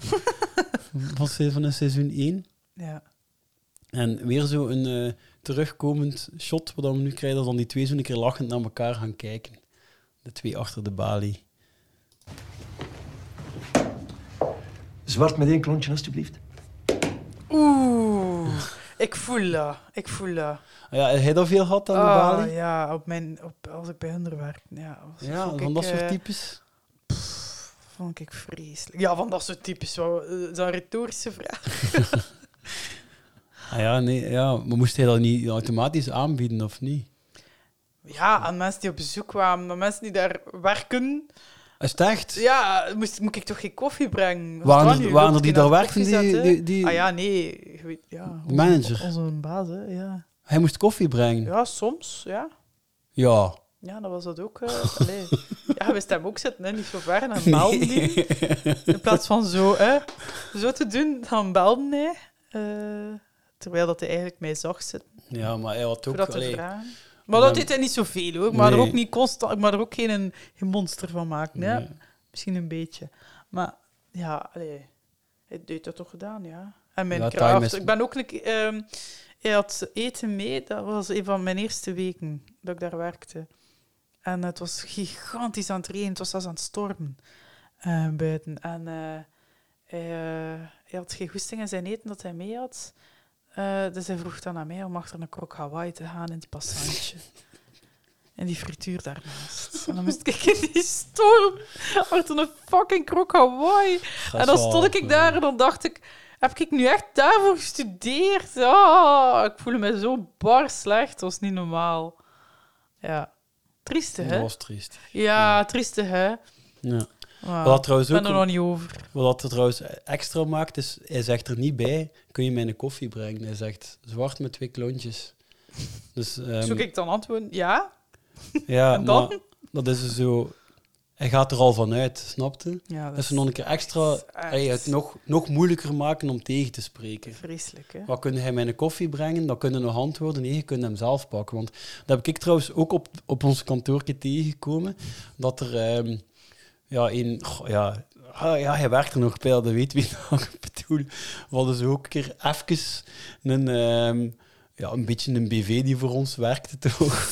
[LAUGHS] van, se- van in seizoen 1. Ja. En weer zo een eh, terugkomend shot, wat we nu krijgen, dat dan die twee zo'n keer lachend naar elkaar gaan kijken. De twee achter de balie. Zwart met één klontje, alstublieft. Oeh. [LAUGHS] Ik voel dat. Ik voel dat. Ah Ja, heb jij dat veel gehad aan de Ah, balie? Ja, op mijn, op, als ik bij hun werkte. Ja, was- Ja, vond van ik, dat soort eh, types? pff, vond ik vreselijk. Ja, van dat soort types. Wat, eh, Dat is een retorische vraag. Ah ja, nee, ja. Maar moest hij dat niet automatisch aanbieden, of niet? ja, aan mensen die op bezoek kwamen, aan mensen die daar werken. Is het echt? Ja, moest, moet ik toch geen koffie brengen? Waren er- die waren er die daar werkten die- die- die- Ah ja, nee. je weet- ja, De manager? Onze, onze baas, hè, ja. Hij moest koffie brengen. Ja, soms, ja. Ja. Ja, dat was dat [LAUGHS] ook. eh, allee. ja, we staan ook zitten, hè, niet zo ver. En dan belden die. In plaats van zo, hè, zo te doen, dan belden hij. eh, terwijl dat hij eigenlijk mij zag zitten. Ja, maar hij had ook... Voor dat te allee, vragen. Maar dat dan- deed hij niet zoveel, hoor. Maar er Nee. ook niet constant... Maar er ook geen, geen monster van maken, hè. Nee. Misschien een beetje. Maar ja, allee. Hij deed dat toch gedaan, ja. En mijn Ja, kracht... time is- Ik ben ook... een keer, ehm hij had eten mee. Dat was een van mijn eerste weken dat ik daar werkte. En het was gigantisch aan het regenen. Het was zelfs aan het stormen eh, buiten. En eh, hij, eh, hij had geen goesting in zijn eten dat hij mee had. Eh, dus hij vroeg dan aan mij om achter een krok Hawaii te gaan in [LAUGHS] het passantje. En die frituur daarnaast. En dan moest ik in die storm achter een fucking krok Hawaii. en dan zal- stond ik daar en dan dacht ik... Heb ik nu echt daarvoor gestudeerd? Ah, ik voelde me zo bar slecht. Dat was niet normaal. Ja. Trieste, hè? Dat was triest. Ja, trieste, hè? Ja. Wauw. Wat dat trouwens Ik ook, ben er nog niet over. Wat dat er trouwens extra maakt, is hij zegt er niet bij, kun je mij een koffie brengen? Hij zegt zwart met twee klontjes. Dus, ehm, Zoek ik dan antwoorden? Ja. Ja, En dan? maar dat is dus zo... Hij gaat er al vanuit, snapte? Ja, dat dat ze nog een keer extra hij het nog, nog moeilijker maken om tegen te spreken. Vreselijk, hè? Wat kun hij mij een koffie brengen? Dan kunnen nog antwoorden. Nee, je kunt hem zelf pakken. Want dat heb ik trouwens ook op, op ons kantoortje tegengekomen. Dat er ehm, ja, een... goh, ja, ah, ja, hij werkt er nog bij, dat weet wie [LAUGHS] dat ik bedoel. We hadden zo ook een keer even een, ehm, ja, een beetje een BV die voor ons werkte, [LAUGHS] toch?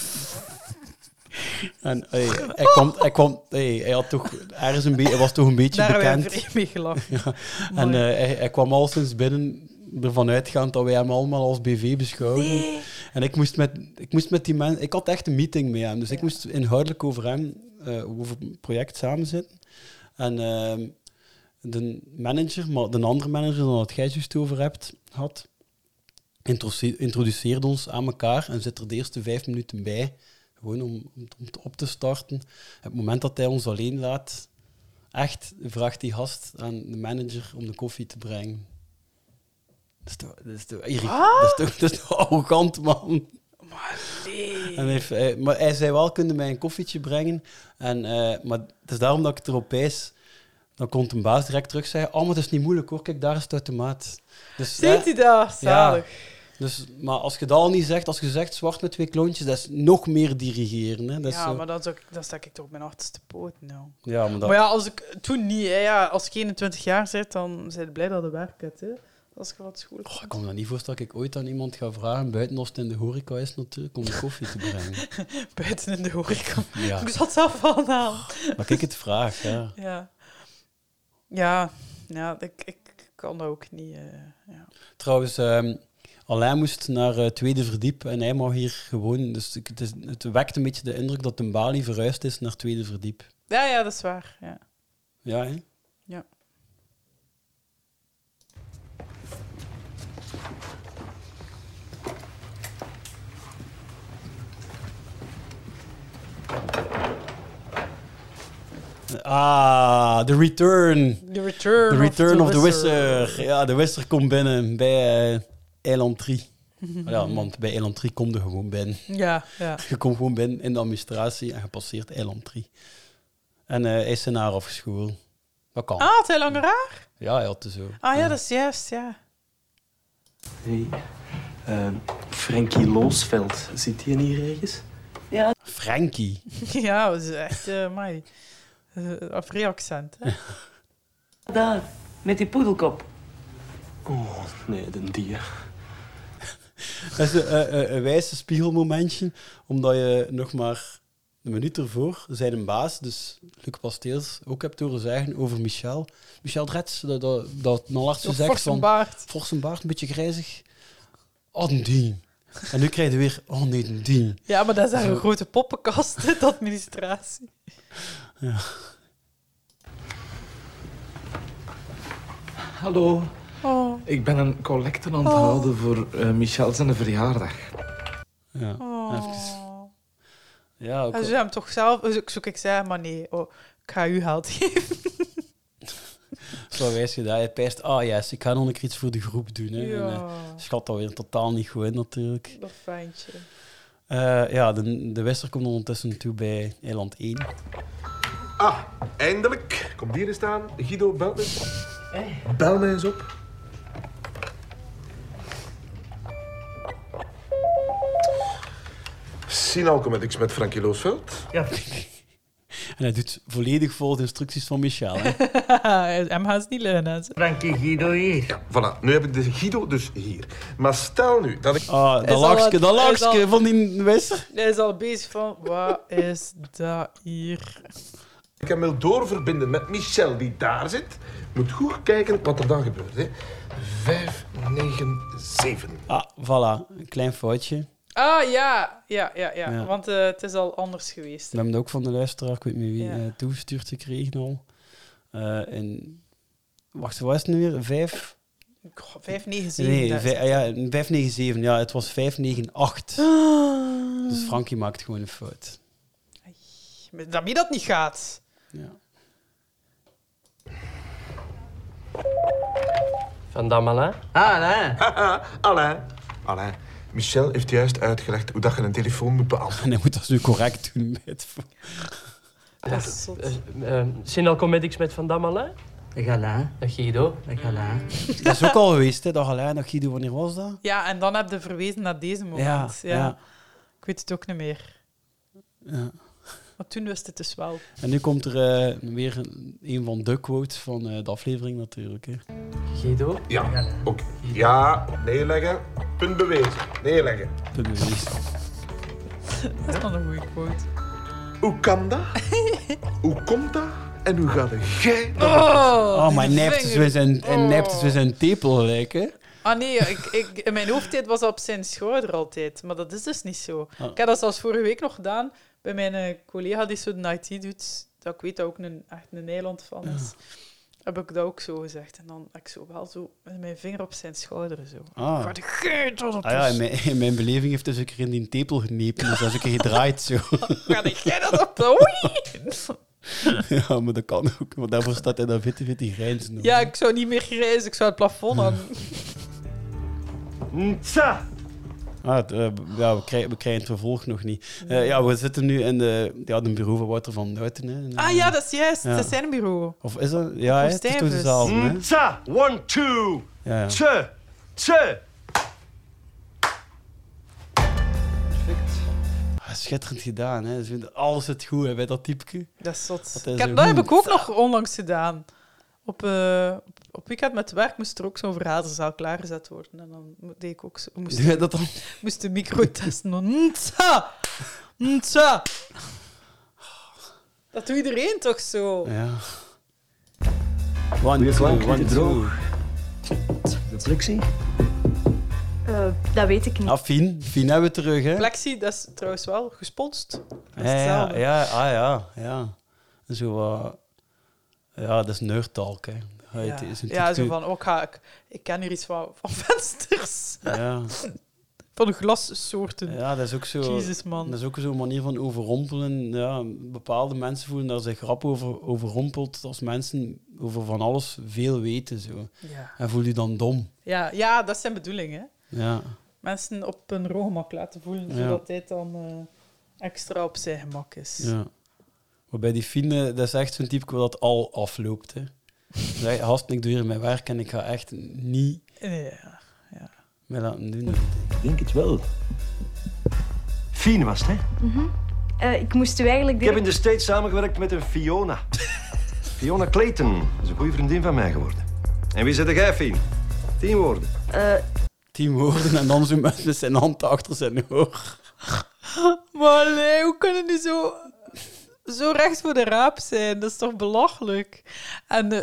En ey, hij, kwam, hij, kwam, ey, hij, had toch ergens een be- hij was toch een beetje Daar hebben bekend. wij vreemd [LAUGHS] mee gelachen. Ja. En Mooi. eh, hij, hij kwam al sinds binnen ervan uitgaand dat wij hem allemaal als BV beschouwden. En ik moest, met, ik moest met die mensen... Ik had echt een meeting met hem, dus ik moest inhoudelijk over hem, eh, over het project samen zitten. En ehm, de manager, maar de andere manager dan wat jij het juist over hebt, had, introduce- introduceerde ons aan elkaar en zit er de eerste vijf minuten bij. Gewoon om, om, om het op te starten. Het moment dat hij ons alleen laat, echt vraagt die gast aan de manager om de koffie te brengen. Dat is toch, dat is toch, irri- Wat? dat is toch, dat is toch arrogant, man. En hij heeft- hij- maar hij zei wel, kunnen mij een koffietje brengen? En, eh, maar het is daarom dat ik het erop wijs. Dan komt een baas direct terug zeggen, oh, maar dat is niet moeilijk hoor, kijk, daar is het automaat. Dus, Ziet eh, hij dat? ja. Zalig. Dus, maar als je dat al niet zegt, als je zegt zwart met twee klontjes, dat is nog meer dirigeren. Hè? Dat is ja, zo- maar dan, zou ik, dan stak ik toch op mijn achterste poot. Nou. Ja, maar dat- ja, als ik toen niet, hè, ja, als ik 21 jaar zit, dan zijn ze blij dat de werk hebt, hè, als ik wat school. Ik kan me dat niet voorstellen dat ik ooit aan iemand ga vragen, buiten als het in de horeca is natuurlijk, om een koffie te [LAUGHS] brengen. [LAUGHS] Buiten in de horeca. Ja. Ik zat zelf al aan. Maar ik het vraag, ja. Ja, ja, ja ik, ik kan dat ook niet. eh, ja. Trouwens, ehm, Alain moest naar het tweede verdiep en hij mag hier gewoon... Dus ik- het, is, het wekt een beetje de indruk dat een balie verhuisd is naar het tweede verdiep. ja, ja, dat is waar. Ja. Ja, hè? Ja. Ah, The Return. The Return The of Return the of the Wisser. Wisser. Ja, de Wisser komt binnen bij eh, Eiland [LAUGHS] 3. ja, want bij Eiland 3 kom je gewoon binnen. Ja, ja. Je komt gewoon binnen in de administratie en je passeert Eiland 3. En eh, hij is zijn haar afgeschoren. Dat kan. Ah, had hij langer haar? Ja, hij had het zo. Ah ja, dat is juist, ja. Hey, eh, Frankie Loosveld, zit hij hier ergens? Ja, Frankie. [LAUGHS] ja dat is echt, eh mai. Eh, Afri-accent, hè. Daar, met die poedelkop. Oh, nee, de dier. Dat is een, een, een- een wijze spiegelmomentje, omdat je nog maar een minuut ervoor zijn baas, dus Luc Pasteels, ook hebt horen zeggen over Michel. Michel Drets, dat, dat, dat Nalartse Een zegt forse dus van... baard. Forse baard, een beetje grijzig. Oh, een dien. En nu krijg je weer, oh nee, een dien. Ja, maar dat is daar Zo. een grote poppenkast, hè, de administratie. Ja. Hallo. Oh. Ik ben een collecte aan het houden voor eh, Michel zijn verjaardag. Ja. Oh. Ja, ook En ze al- hem toch zelf... Ik zoek ik zei, maar nee, oh, ik ga u geld [LAUGHS] geven. Zo wijs je dat. Je pijst, ah yes, ik ga nog een keer iets voor de groep doen. Hè. dus Ja. [LAUGHS] En, eh, schat dat weer totaal niet goed in, natuurlijk. Dat fijntje. Eh, ja, de, de Wester komt ondertussen toe bij eiland 1. Ah, eindelijk. Kom hier eens staan. Guido, bel me eens op. Bel me eens op. Sinalcomedics met Frankie Loosveld. Ja. En hij doet volledig volgens de instructies van Michel. [LAUGHS] Hè? Hem gaat het niet leunen. Frankie Guido hier. Voilà, nu heb ik de Guido dus hier. Maar stel nu dat ik... Ah, dat lakske, dat lakske van die Wester. Hij is al bezig van, wat is dat hier? Ik hem wil doorverbinden met Michel, die daar zit. Moet goed kijken wat er dan gebeurt. Hè. 597. Ah, voilà. Een klein foutje. Ah, ja. Ja, ja, ja. Ja. Want eh, het is al anders geweest. We hebben het ook van de luisteraar, ik weet niet wie, Ja. eh, toegestuurd gekregen al. Eh, en, wacht, wat is het nu weer? Vijf? Goh, 597. Nee, daar is vij- ja, 597. Ja, het was 598. Dus Frankie maakt gewoon een fout. het. Dat wie dat niet gaat. Van Damalin. Ah, Alain. Ah, Alain. Alain. Michel heeft juist uitgelegd hoe dat je een telefoon moet beantwoorden. En hij moet dat nu correct doen met... Dat is Comedics Ehm, met Van Damalin. Dag Alain. Dag Guido. Dag Alain. Dat is ook al geweest, hè? Dag Alain, dag Guido, wanneer was dat? Ja, en dan heb je verwezen naar deze moment. Ja, Ja, ja. Ik weet het ook niet meer. Ja. Maar toen wist het dus wel. En nu komt er eh, weer een- een van de quotes van eh, de aflevering natuurlijk. Hè. Guido? Ja, oké. Ja, neerleggen. Punt bewezen. Neerleggen. Punt [LAUGHS] bewezen. Dat is dan een goede quote. Hoe kan [LAUGHS] dat? hoe komt dat? En hoe gaat het? Jij... Oh, maar nept is weer zijn, en nept is weer zijn tepel gelijk, hè? Ah nee, ik, ik, in mijn hoofdtijd was dat op zijn schouder altijd. Maar dat is dus niet zo. Ah. Ik heb dat zelfs vorige week nog gedaan bij mijn eh, collega die zo de IT doet. Dat ik weet dat ook een, echt een eiland van is. Heb ik dat ook zo gezegd. En dan heb ik zo wel zo met mijn vinger op zijn schouder. [LAUGHS] Zo. Ah. Wat een geit wat dat Ah ja, is. in mijn, in mijn beleving heeft hij dus een keer in die tepel genepen, dus dat is een keer gedraaid zo. [LAUGHS] Ga ik jij dat op de ja, maar dat kan ook, want daarvoor staat hij dan witte, witte grijnzen. Ja, ik zou niet meer grijzen. Ik zou het plafond aan. Tsa! Ah, het, eh, ja, we, krijgen, we krijgen het vervolg nog niet. Eh, ja, we zitten nu in de, ja, de bureau van Wouter van Duiten. Hè. Ah ja, dat is juist. Ja. Dat is zijn bureau. Of is dat? Ja, hè, het is toch Stevens. dezelfde, hè? Tsa! Mm, One, two! Ja, ja. Tse! Tse! Ah, Schitterend gedaan, hè. Ze vinden alles het goed, hè, bij dat typeke. Dat is zot. Dat is Ik zo heb, dat heb goed. ik ook nog onlangs gedaan. Op, eh, op weekend met werk moest er ook zo'n verhalenzaal klaargezet worden. En dan mo- deed ik ook zo, moest, Doe jij dat dan? moest de micro testen. Dan, Ntsa! Ntsa! Dat doet iedereen toch zo? Ja. One, two, one, two. Reflectie? Eh, dat weet ik niet. Ah, Fien. Fien hebben we terug, hè. Plexi, dat is trouwens wel gesponst. Dat Ja, is ja, hetzelfde. ja, ah, ja, ja. Zo wat... ja, dat is nerdtalk, hè. Ja, het is een Ja, zo type- van, ook ga ik, ik ken hier iets van, van [LAUGHS] vensters. Ja. Van glassoorten. Ja, dat is ook zo... Jezus, man. Dat is ook zo'n manier van overrompelen. Ja, bepaalde mensen voelen daar zich grap over overrompeld als mensen over van alles veel weten, zo. Ja. En voel je dan dom. Ja, ja, dat is zijn bedoeling, hè. Ja. mensen op hun roogemak laten voelen, Ja. zodat dit dan eh, extra op zijn gemak is. Ja. Maar bij die Fine, dat is echt zo'n type dat al afloopt. Hè. Zeg, gast, ik doe hier mijn werk en ik ga echt niet Ja. mij laten doen. Ik denk het wel. Fien was het, hè? Mhm. Eh, ik moest u eigenlijk... Ik heb in de States samengewerkt met een Fiona. [LAUGHS] Fiona Clayton. Dat is een goede vriendin van mij geworden. En wie zit jij, Fien? Tien woorden. Eh, Tien woorden en dan [LAUGHS] zo met met zijn hand achter zijn oor. Maar nee, hoe kunnen die zo, zo recht voor de raap zijn? Dat is toch belachelijk? En eh,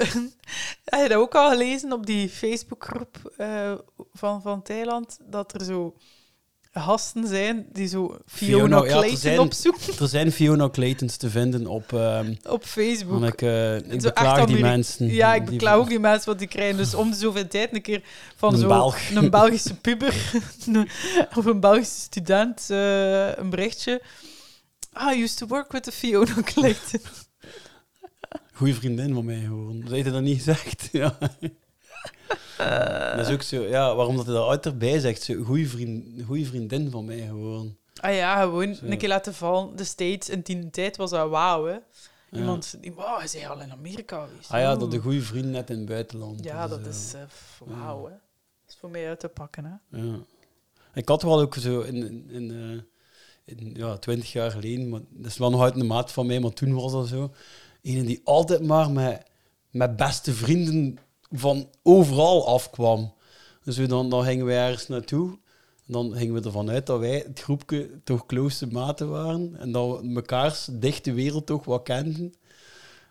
[LAUGHS] heb je dat ook al gelezen op die Facebookgroep eh, van, van Thailand? Dat er zo gasten zijn die zo Fiona, ja, er Clayton zijn- opzoeken Er zijn Fiona Claytons te vinden op... ehm, op Facebook. want ik, eh, ik Zo echt beklaag die Ameri- mensen. Ja, ik Die- beklaag ook die mensen, want die krijgen dus om de zoveel tijd een keer van Een zo Belg. een Belgische puber [LAUGHS] een- of een Belgische student eh, een berichtje. Ah, I used to work with the Fiona [LAUGHS] Clayton. Goeie vriendin van mij gewoon. Dat heeft hij dat niet gezegd. [LAUGHS] Ja. Dat is ook zo. Ja, waarom dat hij dat uit erbij zegt. Zo, goeie, vriend, goeie vriendin van mij gewoon. Ah ja, gewoon Zo. een keer laten vallen. De States in tien tijd was dat wauw, hè. Iemand die, wauw, hij is hier al in Amerika geweest. Ah ja, Oeh. dat de goede vriend net in het buitenland. Ja, dat eh, is eh, f- wauw, hè. Dat is voor mij uit te pakken, hè. Ja. Ik had wel ook zo in, in, in, eh, in, ja, 20 jaar geleden, maar dat is wel nog uit de maat van mij, maar toen was dat zo. Ene die altijd maar met, met beste vrienden van overal afkwam. Dus we dan, dan gingen we ergens naartoe. En dan gingen we ervan uit dat wij het groepje toch close maten waren. En dat we mekaars dichte wereld toch wat kenden.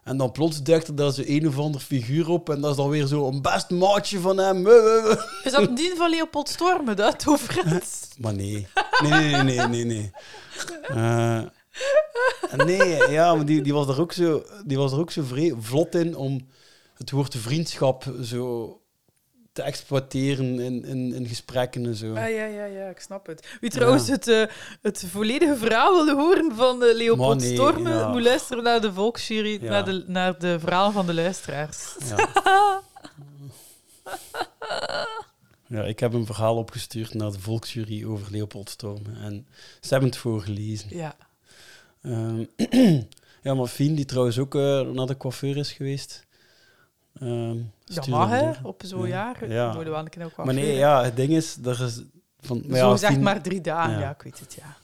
En dan plots duikte daar zo een of ander figuur op. En dat is dan weer zo een best maatje van hem. Is dat die van Leopold Stormen, dat, [LAUGHS] overigens? Maar nee. Nee, nee, nee, nee, nee. Nee, Eh, nee ja, maar die, die was er ook zo, die was er ook zo vre- vlot in om het woord vriendschap zo te exploiteren in, in, in gesprekken en zo. Ah, ja, ja, ja, ik snap het. Wie Ja. trouwens het, eh, het volledige verhaal wilde horen van eh, Leopold Maar nee, Stormen, ja. moet luisteren naar de Volksjury, Ja. naar, de, naar de verhalen van de luisteraars. Ja. Ja, ik heb een verhaal opgestuurd naar de Volksjury over Leopold Storm. En ze hebben het voorgelezen. Ja. Ehm, [CLEARS THROAT] ja, maar Fien, die trouwens ook eh, naar de coiffeur is geweest. ehm, Dat stuur mag, hem hè, door. op zo'n jaar worden we aan de keer ook Maar nee, coiffeur, ja, het ding is... Er is van, Zo ja, gezegd Fien- maar drie dagen, ja. ja. ik weet het, ja.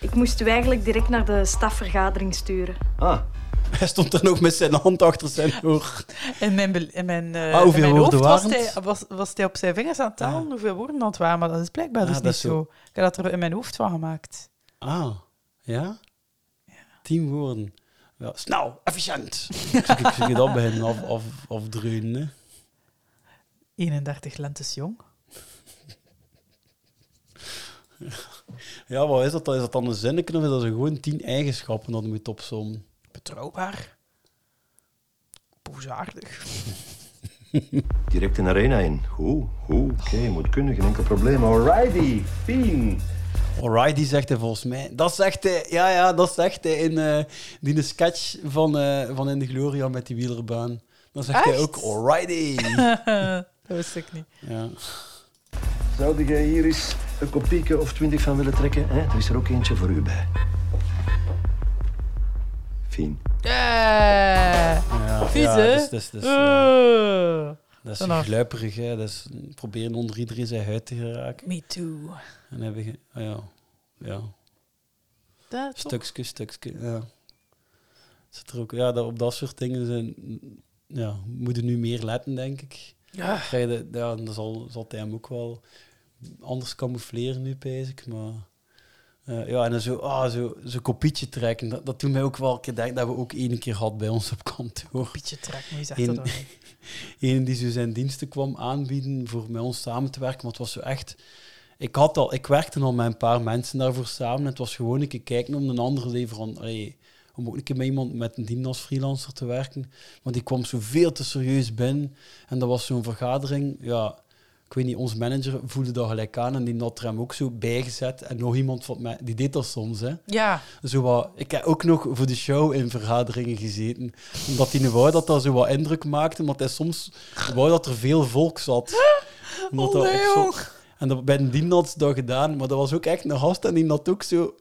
Ik moest u eigenlijk direct naar de stafvergadering sturen. Ah. [LAUGHS] Hij stond dan ook met zijn hand achter zijn oor. In mijn, bel- in mijn, eh, Ah, hoeveel in mijn woorden hoofd was waren het? hij, was, was hij op zijn vingers aan het tellen hoeveel woorden dat waren, maar dat is blijkbaar Ah, dus dat niet is zo. zo. Ik heb dat er in mijn hoofd van gemaakt. Ah, ja? Tien woorden. Ja, snel, [LAUGHS] efficiënt. ik zie dat bij hen af, af, afdreunen, hè. 31 lentes jong. Ja, wat is dat dan? Is dat dan een zinnetje of is dat zo gewoon tien eigenschappen dat je moet opzommen? Betrouwbaar. Boezaardig. Direct in arena in. Goed, goed. Oké, moet kunnen, geen enkel probleem. Alrighty, fien. Alrighty, zegt hij volgens mij. Dat zegt hij, ja, ja, dat zegt hij in eh, die sketch van, eh, van In de Gloria met die wielerbaan. Dan zegt hij Echt? ook alrighty. [LAUGHS] dat wist ik niet. ja. Zou jij hier eens een kopieke of twintig van willen trekken? Hè? Er is er ook eentje voor u bij. Fien. Eh, vies, ja, hè? dus- dus- dus, eh, Eh, Dat is vanaf. gluiperig, hè. Dat is proberen onder iedereen zijn huid te geraken. Me too. En hebben ge... ah, ja. Ja. Dat toch? stukje, stukje, ja. Zit er ook, ja, dat, op dat soort dingen zijn, ja, moeten nu meer letten, denk ik. Ja. Ga je de- ja dan zal, zal hij hem ook wel anders camoufleren nu, pijs ik, maar... eh, ja, en dan zo, ah, zo, zo kopietje trekken, dat, dat doet mij ook wel een keer denken dat we ook één keer had bij ons op kantoor. Kopietje trekken, hoe zegt Eén- dat dan? Eén die zo zijn diensten kwam aanbieden voor met ons samen te werken. Want het was zo echt. Ik, had al, ik werkte al met een paar mensen daarvoor samen. Het was gewoon een keer kijken om een andere leverant. allee, om ook een keer met iemand met een dien als freelancer te werken. Want die kwam zo veel te serieus binnen. En dat was zo'n vergadering. Ja, ik weet niet, ons manager voelde dat gelijk aan. En die had er hem ook zo bijgezet. En nog iemand van mij, die deed dat soms. Hè. Ja. Zo wat, ik heb ook nog voor de show in vergaderingen gezeten. Omdat hij wou dat dat zo wat indruk maakte. Omdat hij soms wou dat er veel volk zat. Omdat dat Allee, op zo- jong. En dat, bij een dien had ze dat gedaan. Maar dat was ook echt een gast. En die had ook zo,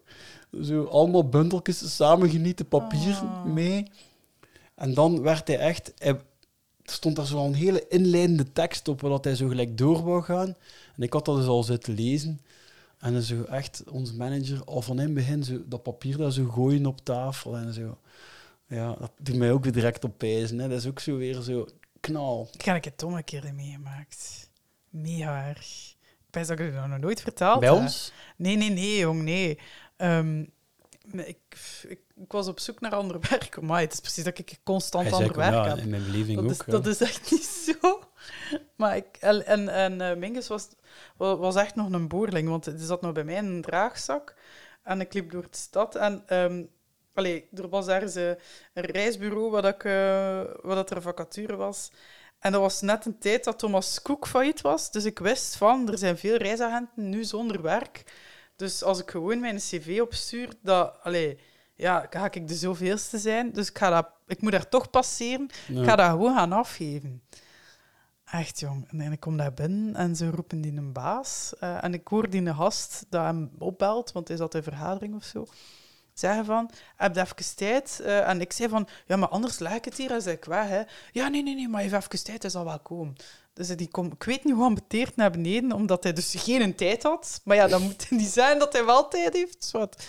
zo allemaal bundeltjes samengenieten papier mee. En dan werd hij echt... Hij, er stond daar zo'n hele inleidende tekst op, waar hij zo gelijk door wou gaan. En ik had dat dus al zitten lezen. En dan zo echt onze manager al van in het begin zo dat papier daar zo gooien op tafel en zo. Ja, dat doet mij ook weer direct op pijzen. Hè. Dat is ook zo weer zo knal. Ik heb het domme keer meegemaakt. Mega erg. Ik ben dat ik het nog nooit verteld Bij heb. ons? Nee, nee, nee, jong, nee. Ehm, ik, ik, ik was op zoek naar ander [LAUGHS] werk. Maar het is precies dat ik constant Hij zei ander ook, werk ja, heb. in mijn beleving dat ook, Is, ja. dat is echt [LAUGHS] niet zo. Maar ik, en en, en eh, Mingus was, wa- was echt nog een boerling, want die zat nog bij mij in een draagzak. En ik liep door de stad en... ehm, allee, er was ergens eh, een reisbureau waar, dat ik, eh, waar dat er een vacature was. En dat was net een tijd dat Thomas Cook failliet was. Dus ik wist van, er zijn veel reisagenten nu zonder werk. Dus als ik gewoon mijn cv opstuur, dat, allee, ja, ga ik de zoveelste zijn. Dus ik, ga dat, ik moet daar toch passeren. Ja. Ik ga dat gewoon gaan afgeven. Echt jong. En, en ik kom daar binnen en ze roepen die een baas. Eh, en ik hoor die een gast dat hem opbelt, want hij zat in vergadering of zo. Zeggen van, heb je even tijd? Eh, en ik zei van, ja, maar anders leg ik het hier en zei ik weg. Hè. Ja, nee, nee, nee, maar even tijd, hij zal wel komen. Dus die komt, ik weet niet hoe ambeteerd naar beneden, omdat hij dus geen tijd had. Maar ja, dan moet [LAUGHS] het niet zijn dat hij wel tijd heeft. Zwart.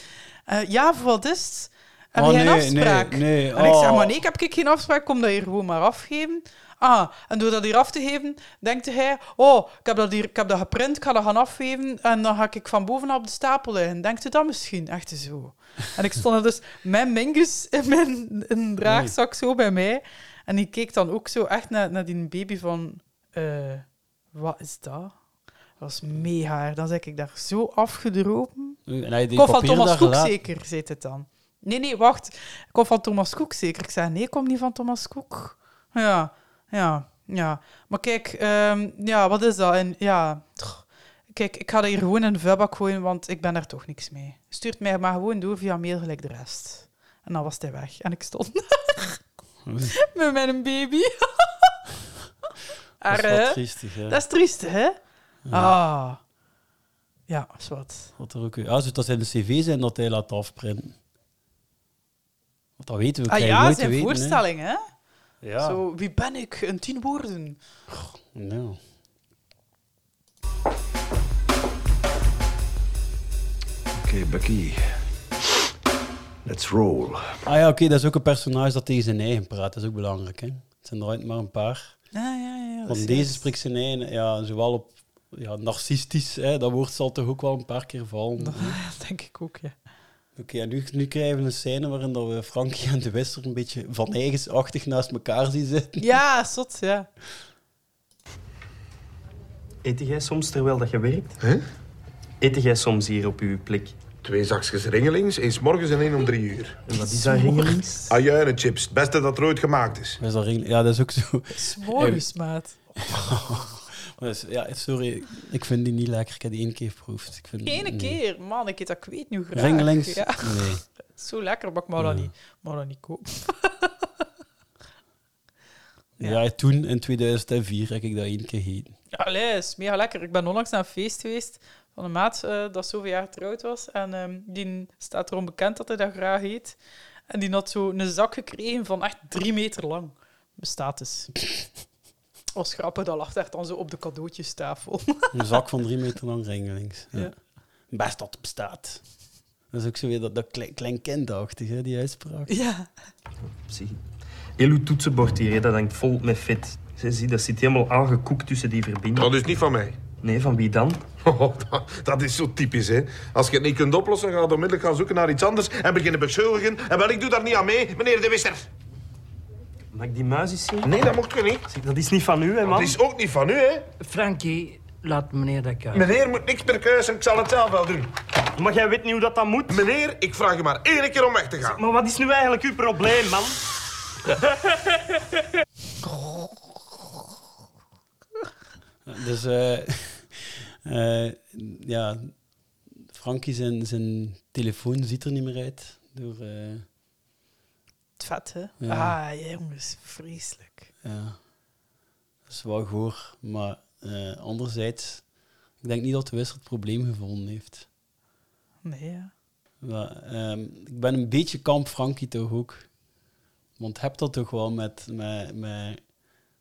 Eh, ja, voor wat is het? Heb Oh, jij een nee, afspraak? nee, nee. En ik zeg, Oh. maar nee, ik heb ik geen afspraak, kom dat hier gewoon maar afgeven. Ah, en door dat hier af te geven, denkt hij, oh, ik heb dat hier, ik heb dat geprint, ik ga dat gaan afgeven en dan ga ik van bovenaf op de stapel liggen. Denkt u dat misschien? Echt zo. En ik stond er dus mijn mingus in mijn in een draagzak zo bij mij. En die keek dan ook zo echt naar, naar die baby van, eh, wat is dat? Dat was mega. erg. Dan zeg ik daar zo afgedropen. En hij deed Kom van papier Thomas daar Cook gelaten. zeker, zit het dan. Nee, nee, wacht. Kom van Thomas Cook zeker. Ik zei, nee, kom niet van Thomas Cook. Ja, ja, ja. Maar kijk, ehm, ja, wat is dat? En ja, tch. kijk, ik ga dat hier gewoon in de vuilbak gooien, want ik ben daar toch niks mee. Stuurt mij maar gewoon door via mail gelijk de rest. En dan was hij weg. En ik stond [LAUGHS] daar met mijn baby. Dat is Arre, wel hè? triestig, hè? eh, Dat is triestig, hè? Ah. Ja, zwart. Wat er ook... Ja, zou dat zijn de cv zijn dat hij laat afprinten. Want dat weten we, Ah krijgen ja, nooit te zijn weten, hè. voorstelling, hè? Ja. Zo, wie ben ik? In tien woorden. Nou. Oké, Bucky. Let's roll. Ah ja, oké, dat is ook een personage dat tegen zijn eigen praat. Dat is ook belangrijk, hè. Het zijn er ooit maar een paar. Ah, ja, ja, dat is Want deze spreekt zijn eigen, ja, zowel op ja, narcistisch, hè, dat woord zal toch ook wel een paar keer vallen. Dat [LAUGHS] denk ik ook, [LAUGHS] ja. Oké, en nu, nu krijgen we een scène waarin dat we Frankie en de Wester een beetje van eigensachtig naast elkaar zien zitten. Ja, zot, ja. Eet jij soms terwijl dat je werkt? Hè? Eet jij soms hier op uw plek? Twee zakjes ringelings, één 's morgens en één om drie uur. Ah, En wat is dat, ringelings? Ajuinenchips, het beste dat er ooit gemaakt is. Is dat ring- Ja, dat is ook zo. S'morgens, maat. Dus, ja, sorry, ik vind die niet lekker. Ik heb die één keer geproefd. Ik vind, Ene nee. keer, man, ik eet dat ik weet nu graag. Ringelings? Ja. Nee. Zo lekker, maar ik mag dat niet, mag dat niet kopen. Ja. toen in 2004 heb ik dat één keer gegeten. Allee, is mega lekker. Ik ben onlangs naar een feest geweest van een maat eh, dat zoveel jaar getrouwd was. En ehm, die staat erom bekend dat hij dat graag eet. En die had zo een zak gekregen van echt drie meter lang. [LAUGHS] Bestaat dus. was grappig, dat lag daar dan zo op de [LAUGHS] cadeautjestafel. Een zak van drie meter lang ringelings. Ja. Ja. Best dat het bestaat. Dat is ook zo weer dat, dat klein, klein kindachtig, hè, die uitspraak. Ja. Zie. Heel uw toetsenbord hier, hè, dat hangt vol met vet. Zie, zie, dat zit helemaal aangekoekt tussen die verbindingen. Dat is niet van mij. [LAUGHS] Oh, Nee, van wie dan? dat, dat is zo typisch, hè. Als je het niet kunt oplossen, ga je onmiddellijk gaan zoeken naar iets anders en beginnen beschuldigen. En wel, ik doe daar niet aan mee, meneer de Wisser. Mag ik die muis eens zien? Nee, dat mocht je niet. dat is niet van u, hè, man? Dat is ook niet van u, hè. Frankie, laat meneer dat kijken. Meneer moet niks meer kuisen, ik zal het zelf wel doen. Maar jij weet niet hoe dat dan moet. Meneer, ik vraag je maar één keer om weg te gaan. Maar wat is nu eigenlijk uw probleem, man? Dus, eh, [LAUGHS] eh, ja, Frankie zijn, zijn telefoon ziet er niet meer uit. Door, eh, Het vet, hè? Ja. Ah, jongens, vreselijk. ja. Dat is wel goor, maar eh, anderzijds, ik denk niet dat de Wisser het probleem gevonden heeft. Nee, ja. Ja, ehm, ik ben een beetje kamp Frankie toch ook. Want heb dat toch wel met, met, met,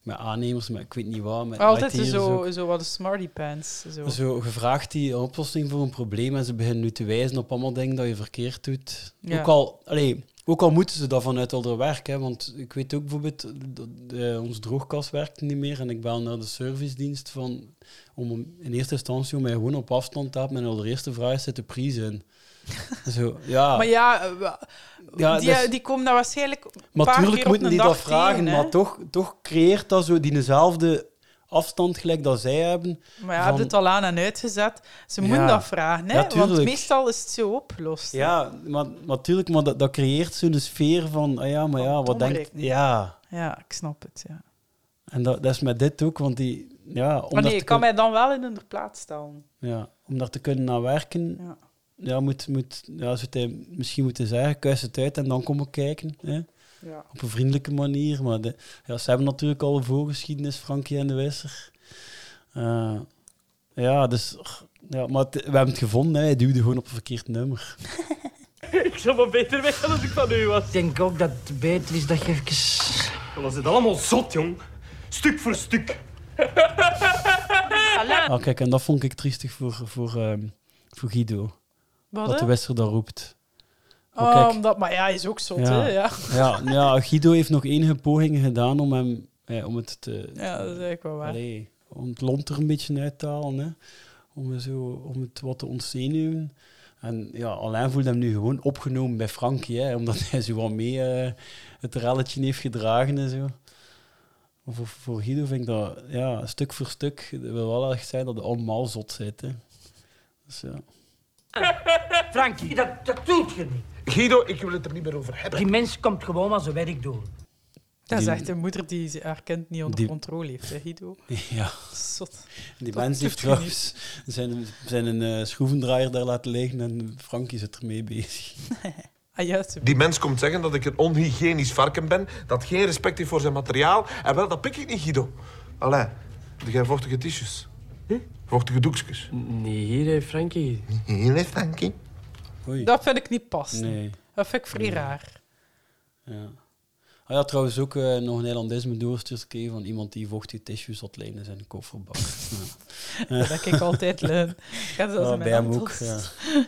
met aannemers, met ik weet niet waar, met Altijd IT'ers ook. zo, zo wat de smarty pants. Zo. Zo, gevraagd die een oplossing voor een probleem en ze beginnen nu te wijzen op allemaal dingen dat je verkeerd doet. Ja. Ook, al, allee, ook al moeten ze dat vanuit al haar werk, hè, want ik weet ook bijvoorbeeld, dat, eh, onze droogkast werkt niet meer en ik bel naar de servicedienst van, om hem in eerste instantie om mij gewoon op afstand te hebben en al de eerste vraag is, zit de prijs in? [LAUGHS] Zo, ja. Maar ja, eh, wa- Ja, die, eh, dat is- die komen daar waarschijnlijk een Maar paar natuurlijk keer op moeten een die dag dat vragen, tegen, hè. maar toch, toch creëert dat zo diezelfde afstand gelijk dat zij hebben. Maar ja, van- heb je het al aan en uitgezet? Ze moeten Ja. dat vragen, hè? Ja, want tuurlijk. meestal is het zo opgelost. hè. Ja, maar natuurlijk, maar dat, dat creëert zo'n sfeer van, ah ja, maar ja, wat denkt... dommerik. Ja, Ja, ik snap het, ja. en dat, dat is met dit ook, want die... Ja, om Maar daar nee, te ik kan kun- mij dan wel in hun plaats stellen. ja, om daar te kunnen naar werken, ja. moet, moet, ja, zou hij misschien moeten zeggen, kuis het uit en dan komen kijken. Hè? Ja. Op een vriendelijke manier. Maar de, ja, ze hebben natuurlijk al een voorgeschiedenis, Frankie en de Wijsser. Eh, ja, dus, ja, maar het- we hebben het gevonden. Hè. Hij duwde gewoon op een verkeerd nummer. Ik zou maar beter weggaan als ik van u was. Ik denk ook dat het beter is dat je even... Dat is allemaal zot, jong. Stuk voor stuk. Ah, kijk, en dat vond ik triestig voor, voor, ehm, voor Guido. Wat, dat hè? de Wester dat roept. Oh, kijk. omdat, maar ja, hij is ook zot, ja. hè? Ja. Ja, ja, Guido heeft nog enige pogingen gedaan om, hem, eh, om het te... Ja, dat is eigenlijk wel waar. Allee, om het lont er een beetje uit te halen, hè. Om, er zo, om het wat te ontzenuwen. En ja, Alain voelde hem nu gewoon opgenomen bij Frankie, hè, omdat [LAUGHS] hij zo wat mee eh, het relletje heeft gedragen en zo. Maar voor, voor Guido vind ik dat, ja, stuk voor stuk, dat wil wel echt zijn dat hij allemaal zot zit, hè. Dus ja. [LAUGHS] Frankie, dat, dat doet je niet. Guido, ik wil het er niet meer over hebben. Die mens komt gewoon maar zijn werk doen. Dat is Die- echt een moeder die ze- haar kind niet onder die- controle heeft, hè, Guido? Ja. Zot. Die Dat mens heeft durft je niet. trouwens zijn, zijn een eh, schroevendraaier daar laten liggen en Frankie zit ermee bezig. Ah, juist. Die mens komt zeggen dat ik een onhygiënisch varken ben, dat geen respect heeft voor zijn materiaal. En wel, dat pik ik niet, Guido. Allee, heb jij vochtige tissues? Vochtige doekjes? Nee, hier, hè, Frankie. Hier, hè, Frankie. Dat vind ik niet passen. Nee. Dat vind ik vrij [LAUGHS] raar. Ja. Ah ja, trouwens ook eh, nog een Nederlandisme doorstuurt gekregen van iemand die vochtige tissues had lenen in zijn kofferbak. [LAUGHS] ja. Dat ik altijd leen. Ik heb dat in Ja, mijn Ah, bij hem hand ook. vast. Ja.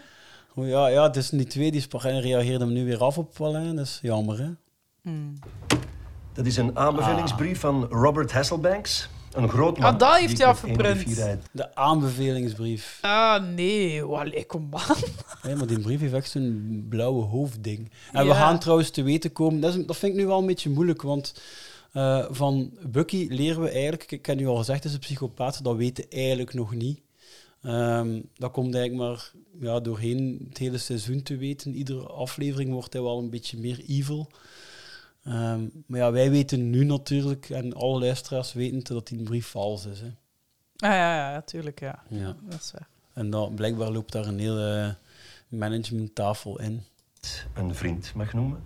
Oh, ja, ja, dus die twee die sprak en reageerde hem nu weer af op Alain. Dat is jammer, hè? Dat is een aanbevelingsbrief van Robert Hasselbanks. Een groot man. Ah, dat heeft die hij ik met één afgeprint. brief hieruit- De aanbevelingsbrief. Ah, nee. Allee, kom [LAUGHS] Ah, aan. Nee, maar die brief heeft echt zo'n blauwe hoofdding. En we Ja. gaan trouwens te weten komen. Dat, is, dat vind ik nu wel een beetje moeilijk, want eh, van Bucky leren we eigenlijk. Ik heb nu al gezegd, het is een psychopaat. Dat weten we eigenlijk nog niet. Ehm, dat komt eigenlijk maar ja, doorheen het hele seizoen te weten. Iedere aflevering wordt hij wel een beetje meer evil. Ehm, maar ja, wij weten nu natuurlijk, en alle luisteraars weten, dat die brief vals is. Hè. Ah, ja, ja, ja, tuurlijk, ja. Ja. Dat is waar. En dat, blijkbaar loopt daar een hele eh, managementtafel in. Een vriend mag noemen.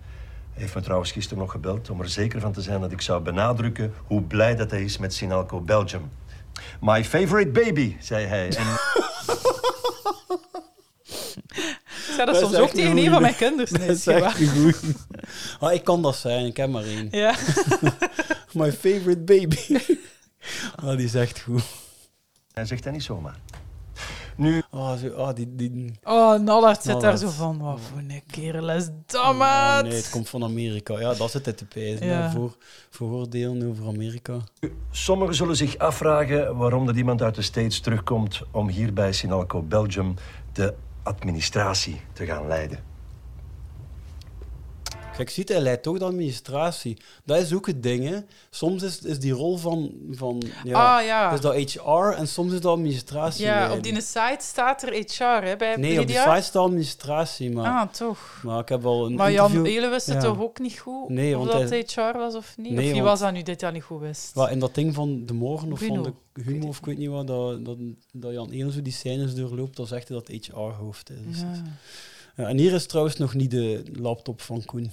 Hij heeft me trouwens gisteren nog gebeld om er zeker van te zijn dat ik zou benadrukken hoe blij dat hij is met Sinalco Belgium. My favorite baby, zei hij. En... Ik zei dat, is soms echt ook tegen een goeie. van mijn kinderen. [LAUGHS] Dat [LAUGHS] Nee, is is niet echt waar. een goeie. Ah, ik kan dat zijn, ik heb maar één. Ja. My favorite baby. [LAUGHS] Ah, die is echt goed. Hij zegt dat niet zomaar. Nu... Ah, zo, ah die... die... Oh, Nallard zit daar Nallard. zo van. Wat voor een kerel is dat, Ah, maat? nee, het komt van Amerika. Ja, dat zit het te pijzen. Ja. hè, Voor, vooroordelen over Amerika. Sommigen zullen zich afvragen waarom dat iemand uit de States terugkomt om hier bij Sinalco Belgium de administratie te gaan leiden. Kijk, ziet hij leidt toch de administratie. Dat is ook het ding, hè. Soms is, is die rol van... van ja, Ah, ja. Is dat HR en soms is dat administratie. Ja, leiden. op die site staat er HR, hè, bij Nee, op die Media. site is het administratie, maar... Ah, toch. Maar ik heb al een Maar Jan, interview- jullie wisten Ja. toch ook niet goed Nee, of want dat hij- HR was of niet? Nee, of wie want- was dat nu dit dat niet goed wist? Wel, in dat ding van de morgen of Bruno. van de humo of ik weet niet wat, dat, dat, dat Jan Elen zo die scènes doorloopt, dan zegt hij dat het HR-hoofd is. Dus- Ja. Ja, en hier is trouwens nog niet de laptop van Koen,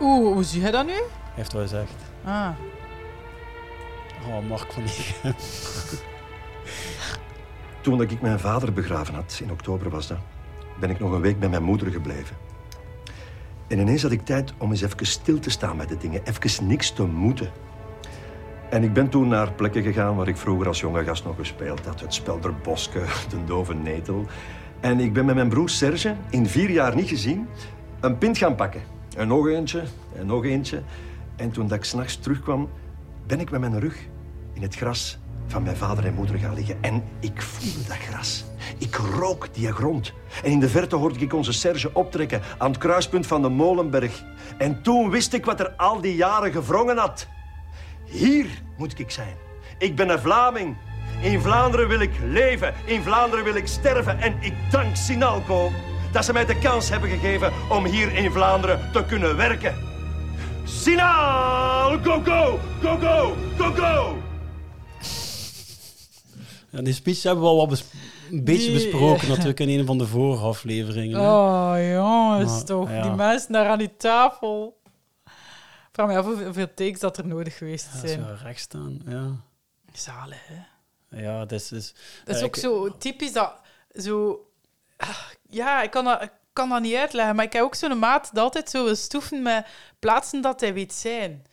Oeh, hoe zie jij dat nu? Hij heeft wel gezegd. Ah. Oh, Mark van Egem. Toen dat ik mijn vader begraven had, in oktober was dat, ben ik nog een week bij mijn moeder gebleven. En ineens had ik tijd om eens even stil te staan met de dingen, even niks te moeten. En ik ben toen naar plekken gegaan waar ik vroeger als jonge gast nog gespeeld had. Het Spelderboske, [LAUGHS] de Dove Netel. En ik ben met mijn broer Serge, in vier jaar niet gezien, een pint gaan pakken. En nog eentje, en nog eentje. En toen dat ik s'nachts terugkwam, ben ik met mijn rug in het gras van mijn vader en moeder gaan liggen. En ik voelde dat gras. Ik rook die grond. En in de verte hoorde ik onze Serge optrekken aan het kruispunt van de Molenberg. En toen wist ik wat er al die jaren gevrongen had. Hier moet ik zijn. Ik ben een Vlaming. In Vlaanderen wil ik leven. In Vlaanderen wil ik sterven. En ik dank Sinalco dat ze mij de kans hebben gegeven om hier in Vlaanderen te kunnen werken. Sinal, go, go, go, go, go, go! Ja, die speech hebben we al wat bes- een beetje Die- [LAUGHS] besproken natuurlijk in een van de vorige afleveringen. hè. Oh, jongens, Maar, toch. ja. Die mensen daar aan die tafel. vraag me af hoe- hoeveel takes dat er nodig geweest Ja, zijn. zo recht staan, ja. Zalig, hè? Ja, dat is... is Dat is eh, ook ik- zo typisch dat zo. Ah, Ja, ik kan dat, ik kan dat niet uitleggen, maar ik heb ook zo'n maat dat altijd zo wil stoeven met plaatsen dat hij weet zijn.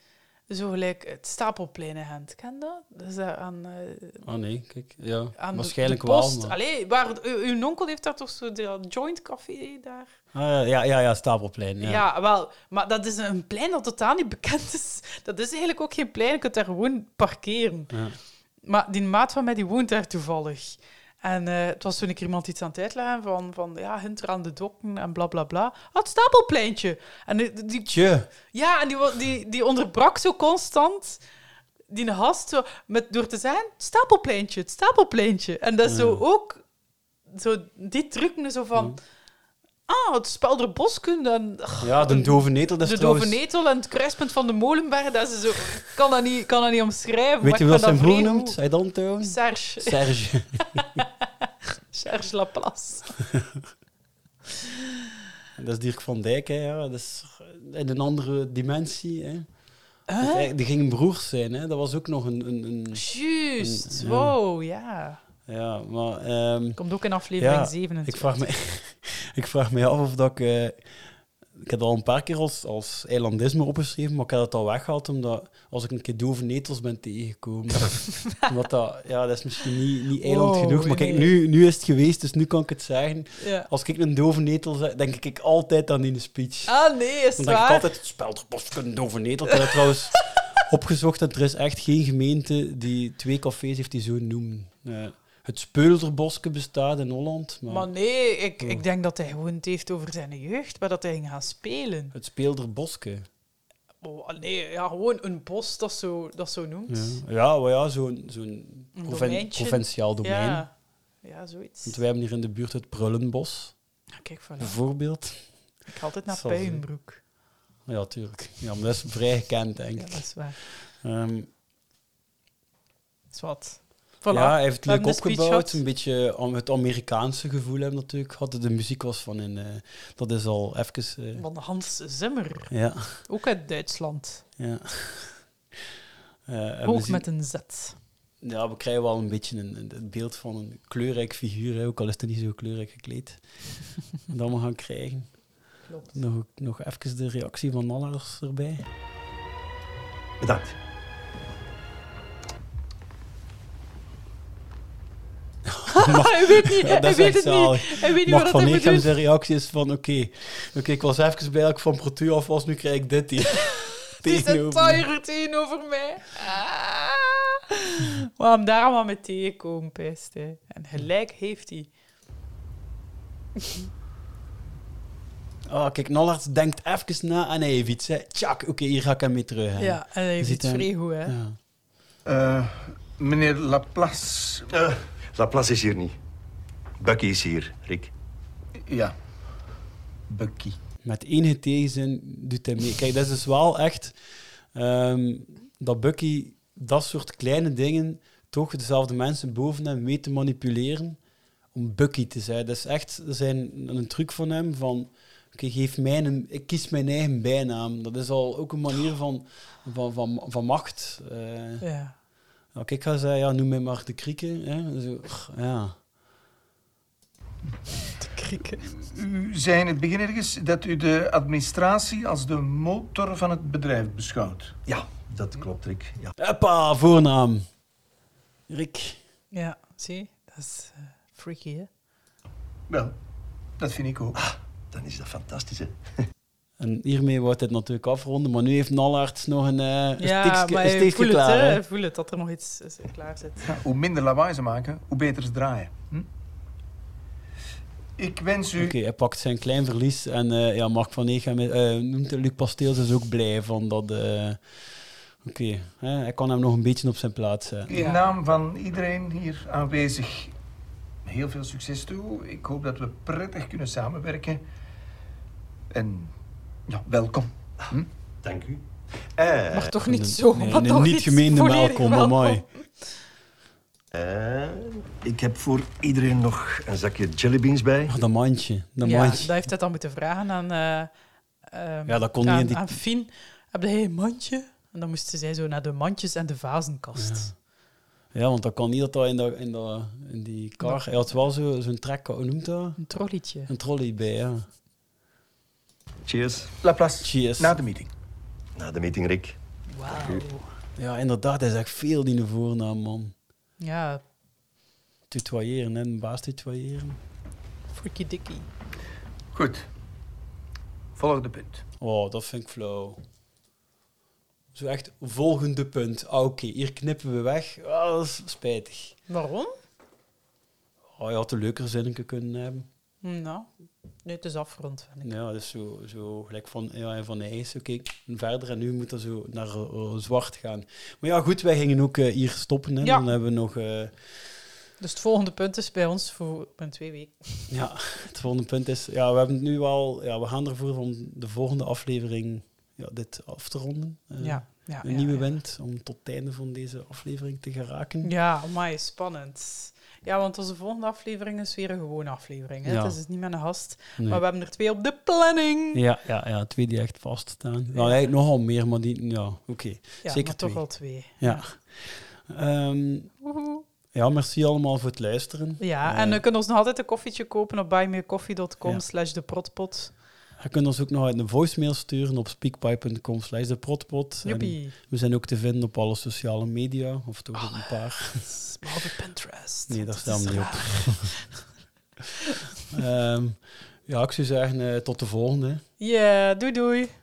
Zo gelijk het stapelplein in Gent. Ken je dat? Dat is dat aan, eh, Oh nee, kijk. Ja, aan de- waarschijnlijk de wel. post. maar- Allee, waar, u- uw onkel heeft daar toch zo dat joint café daar? Ah, ja, ja, ja, stapelplein. Ja. Ja. wel. Maar dat is een plein dat totaal niet bekend is. Dat is eigenlijk ook geen plein. Je kunt daar gewoon parkeren. Ja. Maar die maat van mij die woont daar toevallig. En eh, het was toen ik iemand iets aan het uitleggen van, van ja, hinter aan de dokken en bla bla bla. Ah, het stapelpleintje. En die, die, Tje. ja, en die, wa- die, die onderbrak zo constant die gast zo, met, door te zeggen: het stapelpleintje, het stapelpleintje. En dat is zo ook zo, die truc zo van. Ah, het spel der boskunde. En, ach, Ja, de dove netel, dat is de trouwens- dove netel en het kruispunt van de molenberg, dat is zo... Ik kan dat niet, kan dat niet omschrijven. Weet je maar wat zijn ik vind dat broer vrij noemt? goed. Hij dan [LAUGHS] trouwens? Serge. Serge. Serge Laplace. dat is Dirk van Dijk, hè, ja. Dat is in een andere dimensie, hè. Huh? Dat hij- Die gingen broers zijn, hè. Dat was ook nog een... een, een Juist. een- ja. Wow, ja. Ja, maar... ehm, Komt ook in aflevering ja, 27. Ik vraag, me, [LAUGHS] ik vraag me af of dat ik... eh, ik heb dat al een paar keer als, als eilandisme opgeschreven, maar ik heb dat al weggehaald omdat als ik een keer dove netels [LAUGHS] ben tegengekomen. omdat dat... Ja, dat is misschien niet, niet eiland Oh, genoeg, maar kijk, nee. nu, nu is het geweest, dus nu kan ik het zeggen. Ja. Als ik een dove netel zeg, denk ik altijd aan die speech. Ah, nee, is het Dan denk ik waar? altijd, het spel der boskunde dove netel. Ik heb dat trouwens [LAUGHS] opgezocht en er is echt geen gemeente die twee cafés heeft die zo noemen. Ja. het Speulderboske bestaat in Holland, maar, Maar nee, ik, ik denk dat hij gewoon het heeft over zijn jeugd, waar dat hij ging gaan spelen. het Speelderboske. Oh, nee, ja, gewoon een bos dat zo, dat zo noemt. Ja, ja, maar ja zo'n zo'n Een proven- domeintje. provinciaal domein. Ja, ja zoiets. Want wij hebben hier in de buurt het Prullenbos, Kijk, voilà. bijvoorbeeld. Ik ga altijd naar Zal zien. Puienbroek. Ja, tuurlijk. Ja, maar dat is vrij gekend, denk ik. Ja, dat is waar. Ehm, Zwat. Voilà. Ja, hij heeft het We leuk hebben de speech opgebouwd. gehad. Een beetje om het Amerikaanse gevoel hebben we natuurlijk gehad. De muziek was van in... eh, dat is al even... eh, Van Hans Zimmer. Ja. Ook uit Duitsland. ja. Eh, en we Ook zien- [LAUGHS] met een Z. Ja, we krijgen wel een beetje een, een- het beeld van een kleurrijk figuur. Hè, ook al is het niet zo kleurrijk gekleed. [LAUGHS] dat we gaan krijgen. Klopt. Nog, nog even de reactie van Nallers erbij. Bedankt. hij weet niet, Ja, hij is weet echt het niet. zalig. Hij weet niet Mark wat van hij moet Eeghem doen. zijn reactie is van... Oké, oké, ik was even blij dat ik van Protu af was. Nu krijg ik dit [LAUGHS] hier. Die is een tegenover me. routine over mij. Ah. Waarom daar allemaal mee tegenkomen, pest. hè. En gelijk heeft hij. Ah, kijk, Nallard denkt even na en hij heeft iets. Hè. Tjak, oké, hier ga ik hem mee terug. hè. Ja, en hij heeft Ziet iets hem- vrij goed, hè. Ja. Eh, meneer Laplace. eh, Laplace is hier niet. Bucky is hier, Rick. ja. Bucky. Met enige tegenzin doet hij mee. Kijk, dat is dus wel echt ehm, dat Bucky dat soort kleine dingen toch dezelfde mensen boven hem mee te manipuleren om Bucky te zijn. Dat is echt zijn, een truc van hem van... Oké, geef mij een, ik kies mijn eigen bijnaam. Dat is al ook een manier van, van, van, van macht. eh. Ja. Nou, kijk, ik ga zeggen, ja, noem mij maar de krieken. Hè? Zo, ja. U zei in het begin ergens dat u de administratie als de motor van het bedrijf beschouwt. Ja, dat klopt, Rick. Ja. Hoppa, voornaam. Rick. Ja, zie? Dat is eh, freaky, hè? Wel, dat vind ik ook. dan is dat fantastisch, hè? En hiermee wordt het natuurlijk afronden, maar nu heeft Nallard nog een, eh een steekje- maar een je steekje voelt klaar. het, hè. hè. Je voelt het, dat er nog iets eh, klaar zit. Ja, hoe minder lawaai ze maken, hoe beter ze draaien. Hm? Ik wens u... Oké, hij pakt zijn klein verlies en eh, ja, Mark van Eeghem eh, noemt het Luc Pasteels is ook blij van dat... eh, Oké, hè, hij kan hem nog een beetje op zijn plaats eh. zetten. In naam van iedereen hier aanwezig, heel veel succes toe. Ik hoop dat we prettig kunnen samenwerken. En ja, welkom. Hm? Dank u. Mag toch niet zo, nee, maar een toch niet iets gemeende volledig welkom, maar mooi. Eh, ik heb voor iedereen nog een zakje jellybeans bij. Oh, dat mandje, dat ja, dat heeft hij dan moeten vragen aan... eh, ehm, Ja, dat kon niet aan, in die- aan Fien. heb jij een mandje? En dan moesten zij zo naar de mandjes en de vazenkast. Ja, want dat kan niet dat dat in, dat, in, dat, in die kar... Hij had wel zo- zo'n trek, hoe noemt dat? Een trolletje. Een trolley bij, ja. Cheers. Laplace. Cheers. Na de meeting. Na de meeting, Rick. Ja, inderdaad, hij zegt veel die voornaam, man. Ja, Tutoyeren, hè. Een baas tutoyeren. freaky dikkie. Goed. Volgende punt. Oh, dat vind ik flauw. Zo echt, volgende punt. Ah, Oké, hier knippen we weg. Ah, dat is spijtig. Waarom? Oh, je had een leuker zinnetje kunnen hebben. Nou, nee, het is afgerond, vind ik. Ja, dus zo, zo gelijk van, ja, en van ijs, oké, en verder. En nu moet dat zo naar eh, zwart gaan. Maar ja, goed, wij gingen ook eh, hier stoppen. Hè. Ja. Dan hebben we nog... eh, Dus het volgende punt is bij ons voor binnen twee weken. ja, het volgende punt is... Ja, we hebben het nu al... Ja, we gaan ervoor om de volgende aflevering ja, dit af te ronden. Eh, Ja, ja, Een ja, nieuwe wind om tot het einde van deze aflevering te geraken. Ja, amai, spannend. Ja, want onze volgende aflevering is weer een gewone aflevering. Hè? Dus Ja. Het is niet met een gast, Nee. maar we hebben er twee op de planning. Ja, ja, ja, twee die echt vaststaan. Nou, eigenlijk nogal meer, maar die... Ja, oké. Ja, Zeker maar toch al twee. Ja. Ehm, Woehoe. ja, merci allemaal voor het luisteren. Ja, Eh, en we kunnen ons nog altijd een koffietje kopen op buymeacoffee.com slash de protpot. Je kunt ons ook nog uit een voicemail sturen op speakpipe.com slash de protpot. En Joepie. Ah. We zijn ook te vinden op alle sociale media, of toch op een paar. Behalve Pinterest. Nee, daar Dat staan is we niet op. raar. Ehm, ja, ik zou zeggen, eh, tot de volgende. Ja, doei doei.